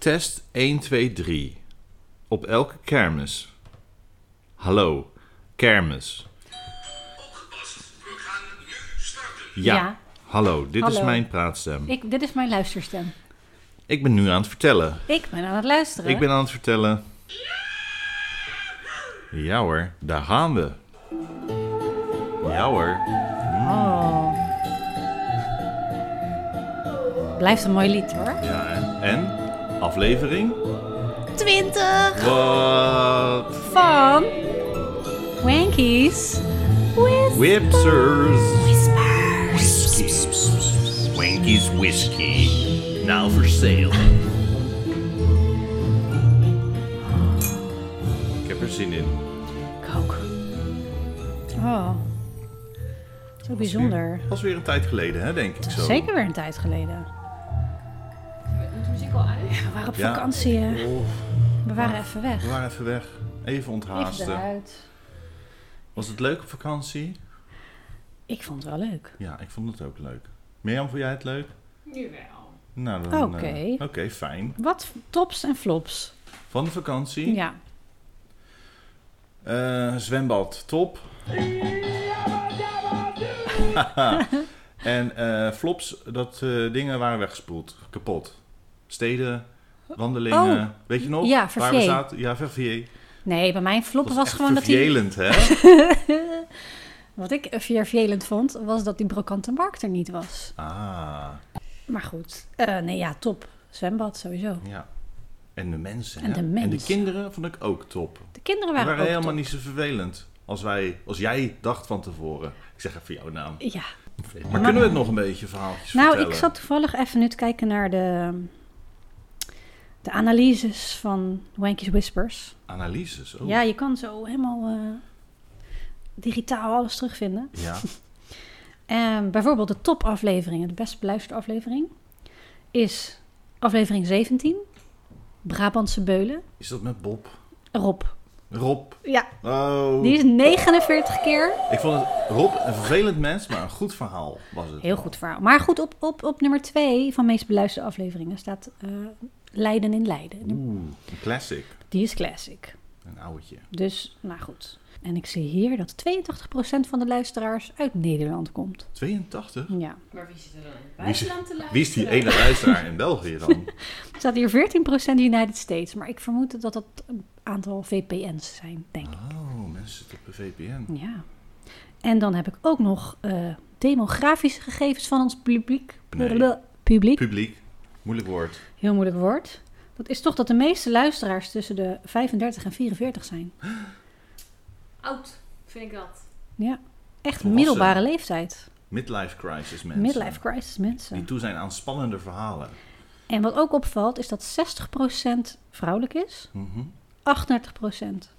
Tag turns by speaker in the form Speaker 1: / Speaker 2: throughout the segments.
Speaker 1: Test 1, 2, 3. Op elke kermis. Hallo, kermis.
Speaker 2: We gaan nu starten.
Speaker 1: Ja.
Speaker 3: Ja.
Speaker 1: Hallo, dit is
Speaker 3: Hallo.
Speaker 1: mijn praatstem. Ik...
Speaker 3: Ik, dit is mijn luisterstem.
Speaker 1: ben nu aan het vertellen.
Speaker 3: Ik ben aan het luisteren.
Speaker 1: Ik ben aan het vertellen. Ja hoor, daar gaan we. Ja hoor.
Speaker 3: Oh. Blijft een mooi lied hoor.
Speaker 1: Ja, hè. en? Aflevering?
Speaker 3: 20
Speaker 1: Wat?
Speaker 3: van Wankies with
Speaker 1: Whipsers.
Speaker 3: Whispers.
Speaker 1: Wanky's Whiskey. Now for sale. Ik heb er zin in.
Speaker 3: Ik ook. Oh. Zo bijzonder.
Speaker 1: Dat was weer een tijd geleden, hè, denk ik zo.
Speaker 3: Zeker weer een tijd geleden.
Speaker 4: Doet de muziek al uit?
Speaker 3: We waren op
Speaker 1: Ja.
Speaker 3: vakantie. hè.
Speaker 1: Oh,
Speaker 3: We waren even weg.
Speaker 1: we waren even weg. Even onthaasten.
Speaker 4: eruit.
Speaker 1: Was het leuk op vakantie?
Speaker 3: Ik vond het wel leuk.
Speaker 1: Ja, ik vond het ook leuk. Mirjam, vond jij het leuk?
Speaker 4: Jawel.
Speaker 1: Nou, dan... eh,
Speaker 3: Oké.
Speaker 1: Oké, fijn.
Speaker 3: Wat tops en flops.
Speaker 1: Van de vakantie.
Speaker 3: Ja.
Speaker 1: Eh, zwembad, top. en eh, flops, dat eh, dingen waren weggespoeld, kapot. Steden, wandelingen,
Speaker 3: Oh,
Speaker 1: weet je nog?
Speaker 3: ja,
Speaker 1: Waar we
Speaker 3: Verviers.
Speaker 1: zaten? Ja, Verviers.
Speaker 3: Nee, bij mijn flop
Speaker 1: Dat
Speaker 3: was,
Speaker 1: was echt
Speaker 3: gewoon dat hij...
Speaker 1: vervelend, hè?
Speaker 3: Wat ik eh, vervelend vond, was dat die brokante markt er niet was.
Speaker 1: Ah,
Speaker 3: Maar goed, eh, nee ja, top. Zwembad sowieso.
Speaker 1: ja. En de mensen,
Speaker 3: En
Speaker 1: hè?
Speaker 3: de
Speaker 1: En de
Speaker 3: mensen.
Speaker 1: kinderen vond ik ook top.
Speaker 3: De kinderen
Speaker 1: Die
Speaker 3: waren,
Speaker 1: waren
Speaker 3: ook
Speaker 1: helemaal
Speaker 3: top.
Speaker 1: niet zo vervelend als, wij, als jij dacht van tevoren. Ik zeg even jouw naam.
Speaker 3: Ja.
Speaker 1: Maar, kunnen we het nog een beetje verhaaltjes
Speaker 3: Nou,
Speaker 1: vertellen?
Speaker 3: ik zat toevallig even nu te kijken naar de, de analyses van Wanky's Whispers.
Speaker 1: Analyses, oh.
Speaker 3: Ja, je kan zo helemaal eh, digitaal alles terugvinden.
Speaker 1: ja.
Speaker 3: En bijvoorbeeld de topaflevering, de best beluisterde aflevering, is aflevering 17. Brabantse Beulen.
Speaker 1: Is dat met Bob?
Speaker 3: Rob.
Speaker 1: Rob.
Speaker 3: Ja,
Speaker 1: Oh.
Speaker 3: die is 49 keer.
Speaker 1: Ik vond het, Rob een vervelend mens, maar een goed verhaal was het.
Speaker 3: Heel goed verhaal. Maar goed, op, op, op nummer 2 van meest beluisterde afleveringen staat eh, Leiden in Leiden.
Speaker 1: Oeh, een classic.
Speaker 3: Die is classic.
Speaker 1: Een ouwtje.
Speaker 3: Dus, nou goed. En ik zie hier dat 82% van de luisteraars uit Nederland komt.
Speaker 1: 82?
Speaker 3: Ja.
Speaker 4: Maar wie zit er dan in het
Speaker 1: Wie is-
Speaker 4: buitenland te luisteren?
Speaker 1: Wie is die ene luisteraar in België dan?
Speaker 3: Er staat hier 14% United States. Maar ik vermoed dat dat een aantal VPN's zijn, denk ik.
Speaker 1: Oh, mensen zitten op de VPN.
Speaker 3: Ja. En dan heb ik ook nog eh, demografische gegevens van ons publiek.
Speaker 1: Nee.
Speaker 3: Publiek.
Speaker 1: Publiek. Moeilijk woord.
Speaker 3: Heel moeilijk woord. Dat is toch dat de meeste luisteraars tussen de 35 en 44 zijn.
Speaker 4: Oud, vind ik dat.
Speaker 3: Ja, echt
Speaker 1: Volwassen.
Speaker 3: middelbare leeftijd.
Speaker 1: Midlife crisis mensen.
Speaker 3: Midlife crisis
Speaker 1: Die
Speaker 3: mensen.
Speaker 1: toe zijn aan spannende verhalen.
Speaker 3: En wat ook opvalt is dat 60% vrouwelijk is,
Speaker 1: Mhm.
Speaker 3: 38%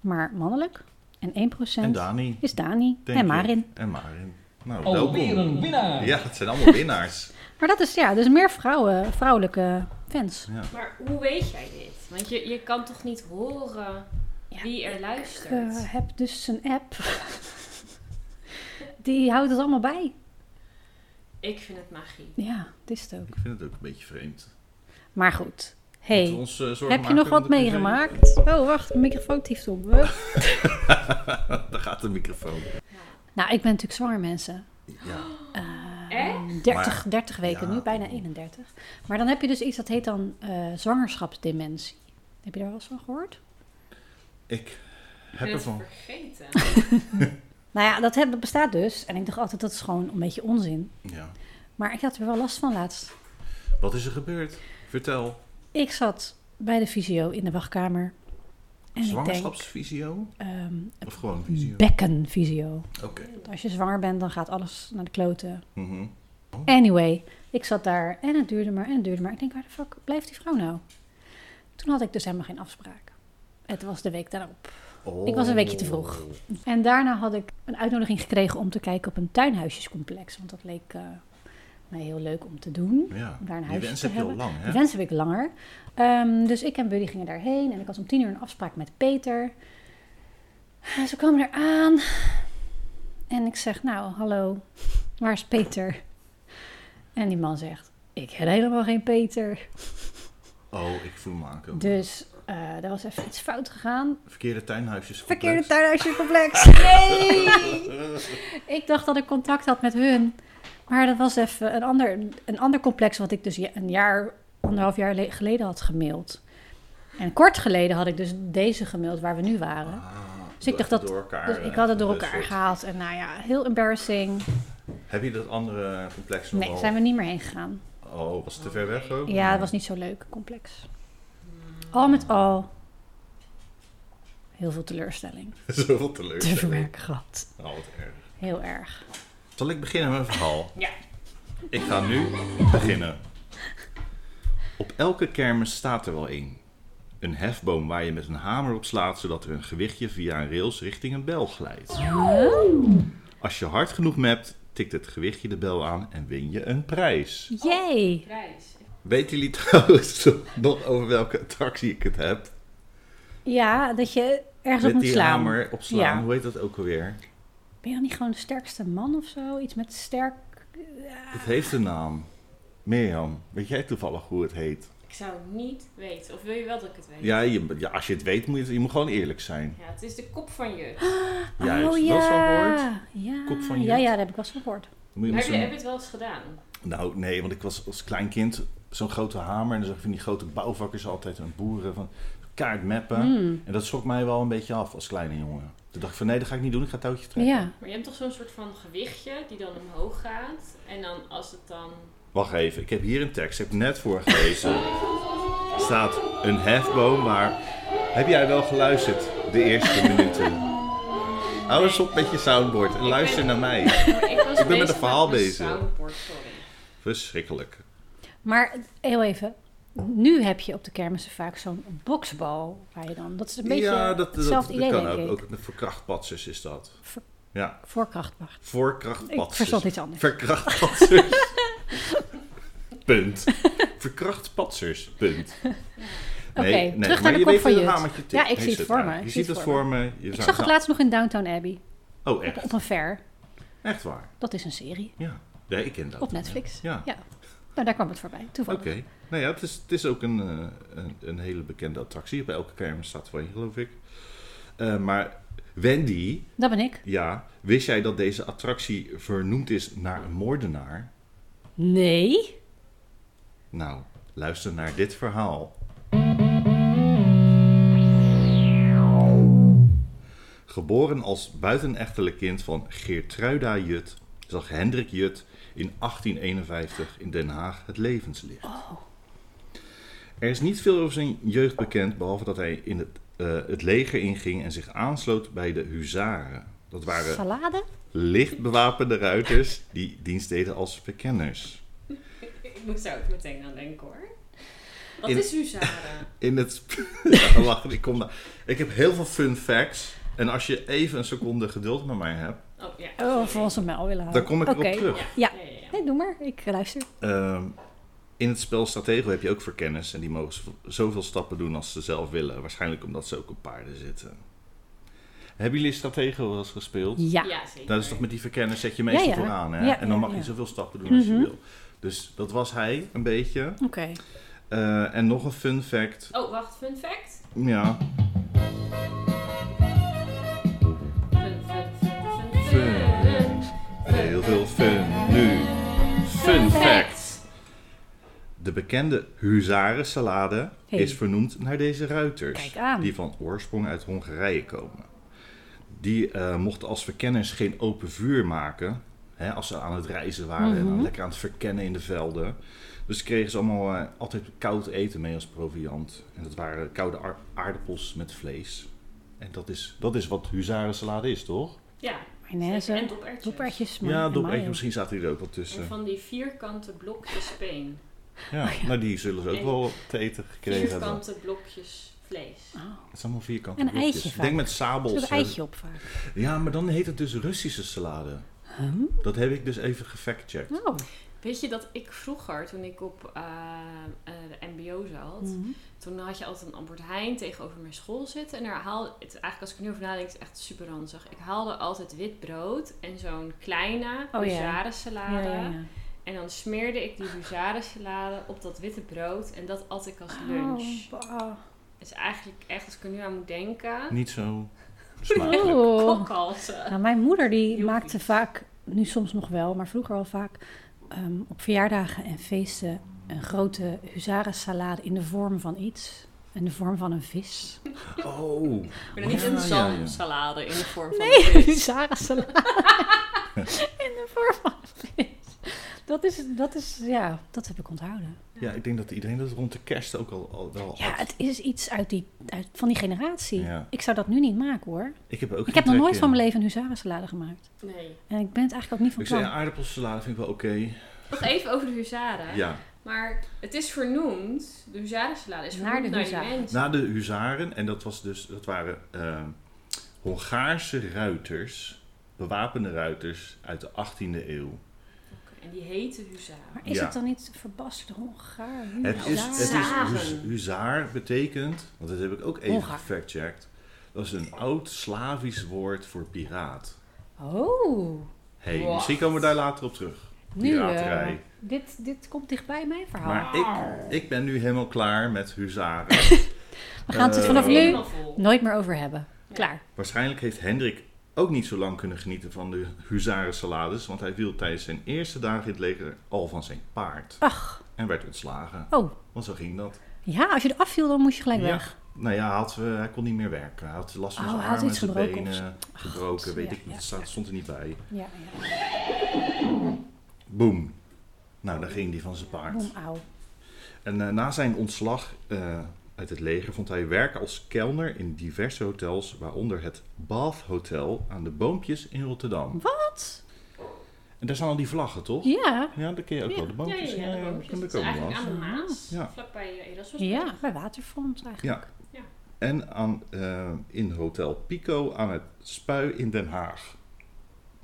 Speaker 3: maar mannelijk en 1%
Speaker 1: En Dani.
Speaker 3: is Dani
Speaker 1: denk
Speaker 3: en
Speaker 1: ik.
Speaker 3: Marin. Oh,
Speaker 1: En Marin. Nou,
Speaker 5: Alweer
Speaker 1: welkom.
Speaker 5: een winnaar.
Speaker 1: Ja, het zijn allemaal winnaars.
Speaker 3: Maar dat is ja, dus meer vrouwen, vrouwelijke fans.
Speaker 4: Maar hoe weet jij dit? Want je, je kan toch niet horen
Speaker 3: Ja,
Speaker 4: wie er
Speaker 3: Ik
Speaker 4: luistert?
Speaker 3: eh, heb dus een app. Die houdt het allemaal bij.
Speaker 4: Ik vind het magie.
Speaker 3: Ja, dat is het ook.
Speaker 1: Ik vind het ook een beetje vreemd.
Speaker 3: Maar goed.
Speaker 1: Moeten we
Speaker 3: Hey,
Speaker 1: ons, eh, zorgen
Speaker 3: heb je
Speaker 1: maken
Speaker 3: nog
Speaker 1: om
Speaker 3: wat
Speaker 1: de privé?
Speaker 3: meegemaakt? Oh, wacht, de microfoon tieft op. Nou, Hup.
Speaker 1: Daar gaat de microfoon.
Speaker 3: Nou, ik ben natuurlijk zwanger, mensen.
Speaker 1: Ja.
Speaker 4: Echt?
Speaker 3: 30, 30 weken
Speaker 1: ja.
Speaker 3: nu, bijna 31. Maar dan heb je dus iets dat heet dan eh, zwangerschapsdementie. Heb je daar wel eens van gehoord?
Speaker 1: Ik
Speaker 4: Ik
Speaker 1: heb
Speaker 4: ben het
Speaker 1: ervan.
Speaker 4: vergeten.
Speaker 3: Nou ja, dat, heb, dat bestaat dus. En ik dacht altijd, dat is gewoon een beetje onzin.
Speaker 1: Ja.
Speaker 3: Maar ik had er wel last van laatst.
Speaker 1: Wat is er gebeurd? Vertel.
Speaker 3: Ik zat bij de fysio in de wachtkamer. En ik denk,
Speaker 1: Zwangerschapsvisio?
Speaker 3: ehm
Speaker 1: Of gewoon visio?
Speaker 3: bekkenvisio.
Speaker 1: Oké.
Speaker 3: Want Als je zwanger bent, dan gaat alles naar de kloten.
Speaker 1: Mhm.
Speaker 3: Anyway, ik zat daar en het duurde maar en het duurde maar. Ik denk, waar de fuck blijft die vrouw nou? Toen had ik dus helemaal geen afspraak. Het was de week daarop.
Speaker 1: Oh.
Speaker 3: Ik was een weekje te vroeg. En daarna had ik een uitnodiging gekregen om te kijken op een tuinhuisjescomplex. Want dat leek eh, mij heel leuk om te doen.
Speaker 1: Ja.
Speaker 3: Om daar een
Speaker 1: Die
Speaker 3: huisje
Speaker 1: wens
Speaker 3: te
Speaker 1: heb je al
Speaker 3: hebben.
Speaker 1: lang,
Speaker 3: Die
Speaker 1: hè?
Speaker 3: wens heb ik langer. Ehm, dus ik en Buddy gingen daarheen en ik had om tien uur een afspraak met Peter. En ze kwamen eraan en ik zeg, nou, hallo, waar is Peter? En die man zegt, ik ken helemaal geen Peter.
Speaker 1: Oh, ik voel me aankomen.
Speaker 3: Dus eh er was even iets fout gegaan.
Speaker 1: Verkeerde tuinhuisjes.
Speaker 3: Verkeerde
Speaker 1: complex.
Speaker 3: tuinhuisjecomplex. ik dacht dat ik contact had met hun. Maar dat was even een ander, een ander complex wat ik dus ja- een jaar, anderhalf jaar le- geleden had gemaild. En kort geleden had ik dus deze gemaild waar we nu waren.
Speaker 1: Ah,
Speaker 3: Dus ik dacht dat-
Speaker 1: door elkaar,
Speaker 3: Dus
Speaker 1: eh,
Speaker 3: ik had het door elkaar
Speaker 1: gehusseld.
Speaker 3: gehaald. En nou ja, heel embarrassing.
Speaker 1: Heb je dat andere complex nog
Speaker 3: Nee,
Speaker 1: al?
Speaker 3: zijn we niet meer heen gegaan.
Speaker 1: Oh, was het te ver weg ook?
Speaker 3: Ja, dat was niet zo leuk, complex. Al met al, heel veel teleurstelling
Speaker 1: Zoveel teleur.
Speaker 3: te verwerken gehad.
Speaker 1: Oh, wat erg.
Speaker 3: Heel erg.
Speaker 1: Zal ik beginnen met een verhaal?
Speaker 4: Ja.
Speaker 1: Ik ga nu beginnen. Op elke kermis staat er wel één. Een hefboom waar je met een hamer op slaat zodat er een gewichtje via een rails richting een bel glijdt. Als je hard genoeg mept, tikt het gewichtje de bel aan en win je een prijs.
Speaker 3: Jee!
Speaker 4: Prijs.
Speaker 1: Weten jullie trouwens nog over welke attractie ik het heb?
Speaker 3: Ja, dat je ergens
Speaker 1: met
Speaker 3: op moet
Speaker 1: die
Speaker 3: slaan.
Speaker 1: hamer op slaan.
Speaker 3: Ja.
Speaker 1: Hoe heet dat ook alweer?
Speaker 3: Ben je dan niet gewoon de sterkste man of zo? Iets met sterk...
Speaker 1: Het heeft een naam. Mirjam, weet jij toevallig hoe het heet?
Speaker 4: Ik zou het niet weten. Of wil je wel dat ik het weet?
Speaker 1: Ja, je, ja als je het weet, moet je, je moet gewoon eerlijk zijn.
Speaker 4: Ja, het is de kop van je.
Speaker 1: Juist,
Speaker 3: oh ja!
Speaker 1: dat is wel woord.
Speaker 3: Ja.
Speaker 1: Kop van
Speaker 3: ja,
Speaker 1: Jut.
Speaker 3: ja, dat heb ik wel eens gehoord.
Speaker 1: Moet je
Speaker 4: Heb
Speaker 1: met
Speaker 4: je,
Speaker 1: zo'n-
Speaker 4: heb je het wel eens gedaan?
Speaker 1: Nou, nee, want ik was als klein kind zo'n grote hamer. En dan zag ik van die grote bouwvakkers altijd en boeren van kaart mappen.
Speaker 3: Mm.
Speaker 1: En dat schrok mij wel een beetje af als kleine jongen. Toen dacht ik van nee, dat ga ik niet doen. Ik ga het touwtje trekken.
Speaker 3: Ja.
Speaker 4: Maar je hebt toch zo'n soort van gewichtje die dan omhoog gaat. En dan als het dan...
Speaker 1: Wacht even, ik heb hier een tekst. Ik heb net voorgelezen. Er staat een hefboom, maar heb jij wel geluisterd de eerste minuten? Hou eens op met je soundboard en luister naar mij.
Speaker 4: Maar Oh, ik, was
Speaker 1: Ik ben met
Speaker 4: bezig
Speaker 1: een verhaal
Speaker 4: mijn
Speaker 1: bezig.
Speaker 4: soundboard, sorry.
Speaker 1: Verschrikkelijk.
Speaker 3: Maar heel even. Nu heb je op de kermissen vaak zo'n boksbal. Waar je dan... Dat is een beetje hetzelfde idee,
Speaker 1: kan
Speaker 3: denk
Speaker 1: ook.
Speaker 3: ik.
Speaker 1: Ook voor krachtpatsers is dat.
Speaker 3: Ver-
Speaker 1: Ja,
Speaker 3: Voor krachtwacht.
Speaker 1: voor
Speaker 3: Ik
Speaker 1: krachtpatsers.
Speaker 3: verstond iets anders.
Speaker 1: Verkrachtpatsers. punt. Verkrachtpatsers, punt.
Speaker 3: Oké, terug naar
Speaker 1: maar
Speaker 3: de
Speaker 1: je
Speaker 3: kop
Speaker 1: weet
Speaker 3: van
Speaker 1: hoe
Speaker 3: Jut.
Speaker 1: een hamertje tikt.
Speaker 3: Ja,
Speaker 1: Hij
Speaker 3: ik zie het
Speaker 1: zit
Speaker 3: voor
Speaker 1: daar.
Speaker 3: me, ik
Speaker 1: Je
Speaker 3: zie
Speaker 1: ziet
Speaker 3: het
Speaker 1: het
Speaker 3: voor
Speaker 1: voor me. Je nou,
Speaker 3: Ik zag het laatst nog in Downtown Abbey.
Speaker 1: Oh,
Speaker 3: Op,
Speaker 1: echt?
Speaker 3: op een fair.
Speaker 1: Echt waar?
Speaker 3: Dat is een serie.
Speaker 1: Ja. Nee, ik ken dat.
Speaker 3: Op Netflix.
Speaker 1: Ja.
Speaker 3: Nou, daar kwam het voorbij.
Speaker 1: Oké.
Speaker 3: Toevallig.
Speaker 1: Nou ja, het is, het is ook een, eh, een, een hele bekende attractie. Op elke kermis staat van je, geloof ik. Eh, maar Wendy,
Speaker 3: Dat ben ik.
Speaker 1: ja, wist jij dat deze attractie vernoemd is naar een moordenaar?
Speaker 3: Nee.
Speaker 1: Nou, luister naar dit verhaal. Geboren als buitenechtelijk kind van Geertruida Jut, zag Hendrik Jut in 1851 in Den Haag het levenslicht. Er is niet veel over zijn jeugd bekend, behalve dat hij in het, eh, het leger inging en zich aansloot bij de huzaren. Dat waren
Speaker 3: Salade?
Speaker 1: licht bewapende ruiters die dienst deden als verkenners.
Speaker 4: Ik moest daar ook meteen aan denken hoor. Wat
Speaker 1: In-
Speaker 4: is Huzaren?
Speaker 1: In het. sp- Ja, wacht, ik kom daar. Ik heb heel veel fun facts. En als je even een seconde geduld met mij hebt,
Speaker 4: Oh ja.
Speaker 3: Oh, voor onze mijl willen halen.
Speaker 1: dan kom ik
Speaker 3: Oké.
Speaker 1: erop terug.
Speaker 4: Ja, ja, ja.
Speaker 3: Nee, doe maar. Ik luister.
Speaker 1: Ehm, in het spel Stratego heb je ook verkenners. En die mogen zov- zoveel stappen doen als ze zelf willen. Waarschijnlijk omdat ze ook op paarden zitten. Hebben jullie Stratego wel eens gespeeld? Nou,
Speaker 3: Ja.
Speaker 4: Ja, zeker.
Speaker 1: Dat is toch met die verkenners zet je meestal
Speaker 3: Ja, ja.
Speaker 1: vooraan. Hè?
Speaker 3: Ja,
Speaker 1: en dan
Speaker 3: ja,
Speaker 1: mag
Speaker 3: ja.
Speaker 1: je zoveel stappen doen als je
Speaker 3: Mhm.
Speaker 1: wil. Dus dat was hij, een beetje.
Speaker 3: Oké.
Speaker 1: Eh, en nog een fun fact.
Speaker 4: Oh, wacht, fun fact.
Speaker 1: Ja,
Speaker 4: Fun, fun, fun, fun,
Speaker 1: Fun.
Speaker 4: fun.
Speaker 1: Heel veel fun nu. Fun fact. De bekende huzarensalade
Speaker 3: Hey.
Speaker 1: is vernoemd naar deze ruiters.
Speaker 3: Kijk aan.
Speaker 1: Die van oorsprong uit Hongarije komen. Die eh, mochten als verkenners geen open vuur maken. Hè, als ze aan het reizen waren en
Speaker 3: Mhm.
Speaker 1: dan lekker aan het verkennen in de velden. Dus kregen ze allemaal eh, altijd koud eten mee als proviand. En dat waren koude aar- aardappels met vlees. En dat is, dat is wat huzarensalade is, toch?
Speaker 4: Ja.
Speaker 3: Mayonaise.
Speaker 4: En dopertjes.
Speaker 3: Dopertjes. maar-
Speaker 1: Ja,
Speaker 3: en
Speaker 1: dop,
Speaker 3: mayo.
Speaker 1: misschien zaten die er ook wel
Speaker 4: En
Speaker 1: tussen.
Speaker 4: van die vierkante blokjes peen.
Speaker 3: Oh
Speaker 1: Ja, maar die zullen ze ook
Speaker 4: En-
Speaker 1: wel te eten gekregen hebben.
Speaker 4: Vierkante blokjes vlees.
Speaker 3: Oh,
Speaker 1: Het is allemaal vierkante
Speaker 3: En een
Speaker 1: blokjes.
Speaker 3: eitje
Speaker 1: Ik
Speaker 3: vaak.
Speaker 1: denk met
Speaker 3: er zit
Speaker 1: sabels.
Speaker 3: een eitje op vaak.
Speaker 1: hè. Ja, maar dan heet het dus Russische salade.
Speaker 3: Huh?
Speaker 1: Dat heb ik dus even gefactcheckt.
Speaker 3: Oh.
Speaker 4: Weet je dat ik vroeger, toen ik op eh, eh, de mbo zat,
Speaker 3: Mhm.
Speaker 4: toen had je altijd een Albert Heijn tegenover mijn school zitten. En daar haalde, het, eigenlijk als ik er nu over nadenk, is het echt super ranzig. Ik haalde altijd wit brood en zo'n kleine
Speaker 3: Oh ja.
Speaker 4: huzarensalade.
Speaker 3: Ja, ja, ja.
Speaker 4: En dan smeerde ik die buzadensalade op dat witte brood. En dat at ik als lunch.
Speaker 3: Oh, bah.
Speaker 4: Dat is eigenlijk echt, als ik er nu aan moet denken...
Speaker 1: Niet zo smakelijk.
Speaker 3: Oeh.
Speaker 4: Kokhalzen.
Speaker 3: Nou, mijn moeder die
Speaker 4: Joepie.
Speaker 3: maakte vaak, nu soms nog wel, maar vroeger al vaak, ehm, op verjaardagen en feesten een grote huzarensalade in de vorm van iets. In de vorm van een vis.
Speaker 1: Oh,
Speaker 4: Maar dan niet
Speaker 1: Ja,
Speaker 4: een
Speaker 1: ja, ja.
Speaker 4: zalmsalade in de vorm van
Speaker 3: Nee,
Speaker 4: een vis.
Speaker 3: huzarensalade in de vorm van een vis. Dat is, dat is, ja, dat heb ik onthouden.
Speaker 1: ja, ik denk dat iedereen dat rond de kerst ook al, al wel
Speaker 3: Ja,
Speaker 1: had.
Speaker 3: het is iets uit die, uit, van die generatie.
Speaker 1: Ja.
Speaker 3: Ik zou dat nu niet maken hoor.
Speaker 1: Ik heb, er ook
Speaker 3: Ik
Speaker 1: geen
Speaker 3: heb nog
Speaker 1: trek
Speaker 3: nooit
Speaker 1: in.
Speaker 3: van mijn leven een huzarensalade gemaakt.
Speaker 4: Nee.
Speaker 3: En ik ben het eigenlijk ook niet van
Speaker 1: Ik zei, ja,
Speaker 3: plan.
Speaker 1: aardappelsalade vind ik wel oké.
Speaker 4: Nog even over de huzaren.
Speaker 1: Ja,
Speaker 4: Maar het is vernoemd, de huzarensalade is
Speaker 3: Naar
Speaker 4: vernoemd naar,
Speaker 3: de
Speaker 4: die
Speaker 3: huzaren.
Speaker 4: mensen.
Speaker 1: na de huzaren, en dat, was dus, dat waren eh, Hongaarse ruiters, bewapende ruiters uit de 18e eeuw.
Speaker 4: En die hete huzaren.
Speaker 3: Maar is
Speaker 1: Ja.
Speaker 3: het dan niet verbasterd Oh, Hongaar?
Speaker 1: Het is, het is
Speaker 4: Huzaren.
Speaker 1: huz- huzaar betekent, want dat heb ik ook even
Speaker 3: Hongaar.
Speaker 1: gefactcheckt, dat is een oud Slavisch woord voor piraat.
Speaker 3: Oh,
Speaker 1: Hé, hey,
Speaker 4: Wat?
Speaker 1: misschien komen we daar later op terug.
Speaker 3: nu. eh,
Speaker 1: Piraterij.
Speaker 3: dit, dit komt dichtbij mijn verhaal.
Speaker 1: Maar ik, ik ben nu helemaal klaar met huzaren.
Speaker 3: We gaan het er
Speaker 1: eh,
Speaker 3: vanaf nu
Speaker 4: Helemaal vol.
Speaker 3: nooit meer over hebben. Klaar.
Speaker 1: Waarschijnlijk heeft Hendrik ook niet zo lang kunnen genieten van de huzarensalades, want hij viel tijdens zijn eerste dagen in het leger al van zijn paard
Speaker 3: Ach,
Speaker 1: en werd ontslagen.
Speaker 3: oh.
Speaker 1: Want zo ging dat.
Speaker 3: Ja, als je eraf viel, dan moest je gelijk
Speaker 1: Ja.
Speaker 3: weg.
Speaker 1: Nou ja, hij had, eh, hij kon niet meer werken. Hij had last van
Speaker 3: Oh,
Speaker 1: zijn
Speaker 3: hij had
Speaker 1: armen en
Speaker 3: iets
Speaker 1: zijn
Speaker 3: gebroken of
Speaker 1: benen, gebroken,
Speaker 3: God,
Speaker 1: weet
Speaker 3: ja,
Speaker 1: ik niet.
Speaker 3: ja,
Speaker 1: Het staat- stond er niet bij.
Speaker 3: Ja, ja.
Speaker 1: Boom. Nou, daar ging hij van zijn paard.
Speaker 3: Boem, auw.
Speaker 1: En eh, na zijn ontslag eh, uit het leger vond hij werk als kelner in diverse hotels, waaronder het Bath Hotel aan de Boompjes in Rotterdam.
Speaker 3: Wat?
Speaker 1: En daar staan al die vlaggen, toch?
Speaker 3: Ja.
Speaker 1: Ja, daar ken je ook
Speaker 3: Ja.
Speaker 1: wel. De
Speaker 4: Ja, ja,
Speaker 1: boompjes.
Speaker 4: ja, de boompjes.
Speaker 1: kan
Speaker 4: Dat
Speaker 1: ik
Speaker 4: is
Speaker 1: ook
Speaker 4: eigenlijk
Speaker 1: wel.
Speaker 4: aan de Maas,
Speaker 1: Ja.
Speaker 4: vlakbij eh, Erasmus.
Speaker 3: Ja, bij Waterfront eigenlijk.
Speaker 1: Ja.
Speaker 4: Ja.
Speaker 1: En aan, eh, in Hotel Pico aan het Spui in Den Haag.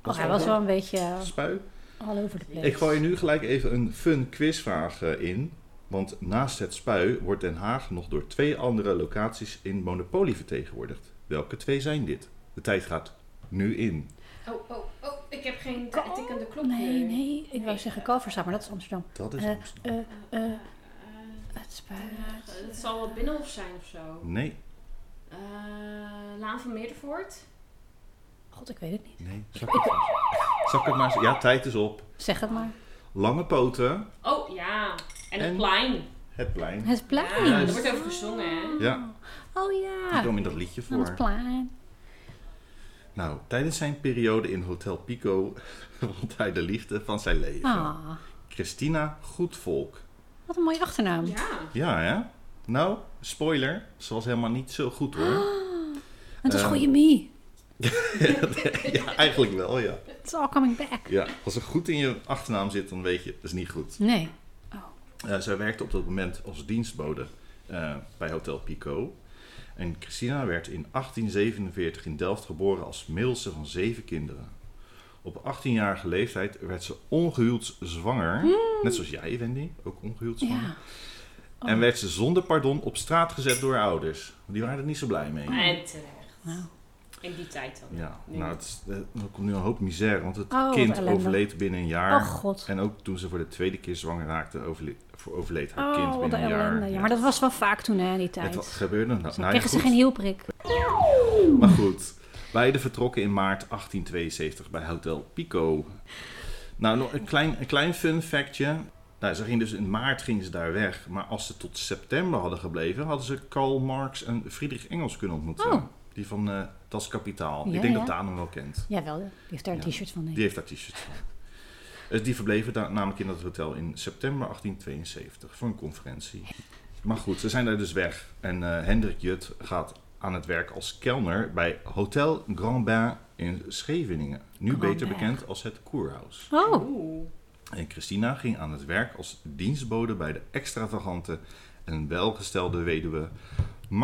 Speaker 3: Oh, hij was wel een beetje eh,
Speaker 1: Spui?
Speaker 3: all over the place.
Speaker 1: Ik gooi je nu gelijk even een fun quizvraag eh, in. Want naast het Spui wordt Den Haag nog door twee andere locaties in Monopoly vertegenwoordigd. Welke twee zijn dit? De tijd gaat nu in.
Speaker 4: Oh, oh, oh, ik heb geen
Speaker 3: Kalm?
Speaker 4: tikkende klok
Speaker 3: Nee,
Speaker 4: meer.
Speaker 3: nee. Ik wou zeggen Kalverstraat, maar dat is Amsterdam.
Speaker 1: Dat is
Speaker 3: Eh,
Speaker 1: Amsterdam.
Speaker 3: eh, eh,
Speaker 4: Eh,
Speaker 3: het
Speaker 4: eh,
Speaker 3: spuit.
Speaker 4: het zal wel Binnenhof zijn of zo.
Speaker 1: Nee,
Speaker 4: Eh, Laan van Meerdervoort.
Speaker 3: God, ik weet het niet.
Speaker 1: nee. Zal ik het, zal ik het maar Ja, tijd is op.
Speaker 3: Zeg het maar.
Speaker 1: Lange poten.
Speaker 4: Oh ja, en het
Speaker 1: En? Ah.
Speaker 4: plein.
Speaker 1: Het plein.
Speaker 3: Het plein.
Speaker 4: Ja, er wordt over gezongen, hè?
Speaker 1: Ja.
Speaker 3: Oh
Speaker 1: Die
Speaker 3: ja.
Speaker 1: kwam in dat liedje
Speaker 3: Aan
Speaker 1: voor.
Speaker 3: het plein.
Speaker 1: Nou, tijdens zijn periode in Hotel Pico vond hij de liefde van zijn leven.
Speaker 3: Ah,
Speaker 1: Christina Goedvolk.
Speaker 3: wat een mooie achternaam.
Speaker 4: Ja.
Speaker 1: Ja, hè? Nou, spoiler, ze was helemaal niet zo goed hoor.
Speaker 3: Het was
Speaker 1: Eh.
Speaker 3: goede Mie.
Speaker 1: ja, eigenlijk wel, ja.
Speaker 3: It's all coming back.
Speaker 1: ja. Als er goed in je achternaam zit, dan weet je, dat is niet goed.
Speaker 3: Nee.
Speaker 1: Eh, zij werkte op dat moment als dienstbode eh, bij Hotel Pico. En Christina werd in 1847 in Delft geboren als middelste van zeven kinderen. Op 18-jarige leeftijd werd ze ongehuwd zwanger. Net zoals jij, Wendy, ook ongehuwd zwanger.
Speaker 3: Ja.
Speaker 1: En werd ze zonder pardon op straat gezet door haar ouders. Want Die waren er niet zo blij mee.
Speaker 4: En terecht.
Speaker 3: Nou.
Speaker 4: In die tijd dan.
Speaker 1: Ja,
Speaker 4: Nee.
Speaker 1: nou, het is, eh, er komt nu een hoop misère, want het
Speaker 3: Oh, wat
Speaker 1: kind
Speaker 3: ellende.
Speaker 1: overleed binnen een jaar.
Speaker 3: Oh god.
Speaker 1: En ook toen ze voor de tweede keer zwanger raakte, overle- voor- overleed haar
Speaker 3: Oh,
Speaker 1: kind
Speaker 3: wat een
Speaker 1: binnen een jaar.
Speaker 3: ellende. Ja, maar dat was wel vaak toen, hè, in die tijd.
Speaker 1: Het gebeurde nog.
Speaker 3: Dan
Speaker 1: Nou, ja,
Speaker 3: kregen ze
Speaker 1: goed.
Speaker 3: geen hielprik.
Speaker 1: Maar goed, beide vertrokken in maart 1872 bij Hotel Pico. Nou, nog een klein, een klein fun factje. Nou, ze ging dus in maart ging ze daar weg. Maar als ze tot september hadden gebleven, hadden ze Karl Marx en Friedrich Engels kunnen ontmoeten.
Speaker 3: Oh.
Speaker 1: Die van eh Das Kapitaal.
Speaker 3: Ja,
Speaker 1: Ik denk
Speaker 3: ja.
Speaker 1: dat Daan hem wel kent.
Speaker 3: Jawel, die heeft daar een
Speaker 1: Ja.
Speaker 3: t-shirt van. denk ik.
Speaker 1: Die heeft daar t-shirt van. Dus die verbleven daar, namelijk in dat hotel in september 1872 voor een conferentie. Maar goed, ze zijn daar dus weg. En eh, Hendrik Jut gaat aan het werk als kelner bij Hotel Grand Bain in Scheveningen. Nu
Speaker 3: Grand
Speaker 1: beter
Speaker 3: Bain.
Speaker 1: bekend als het Koerhuis.
Speaker 3: Oh,
Speaker 4: Oeh.
Speaker 1: En Christina ging aan het werk als dienstbode bij de extravagante en welgestelde weduwe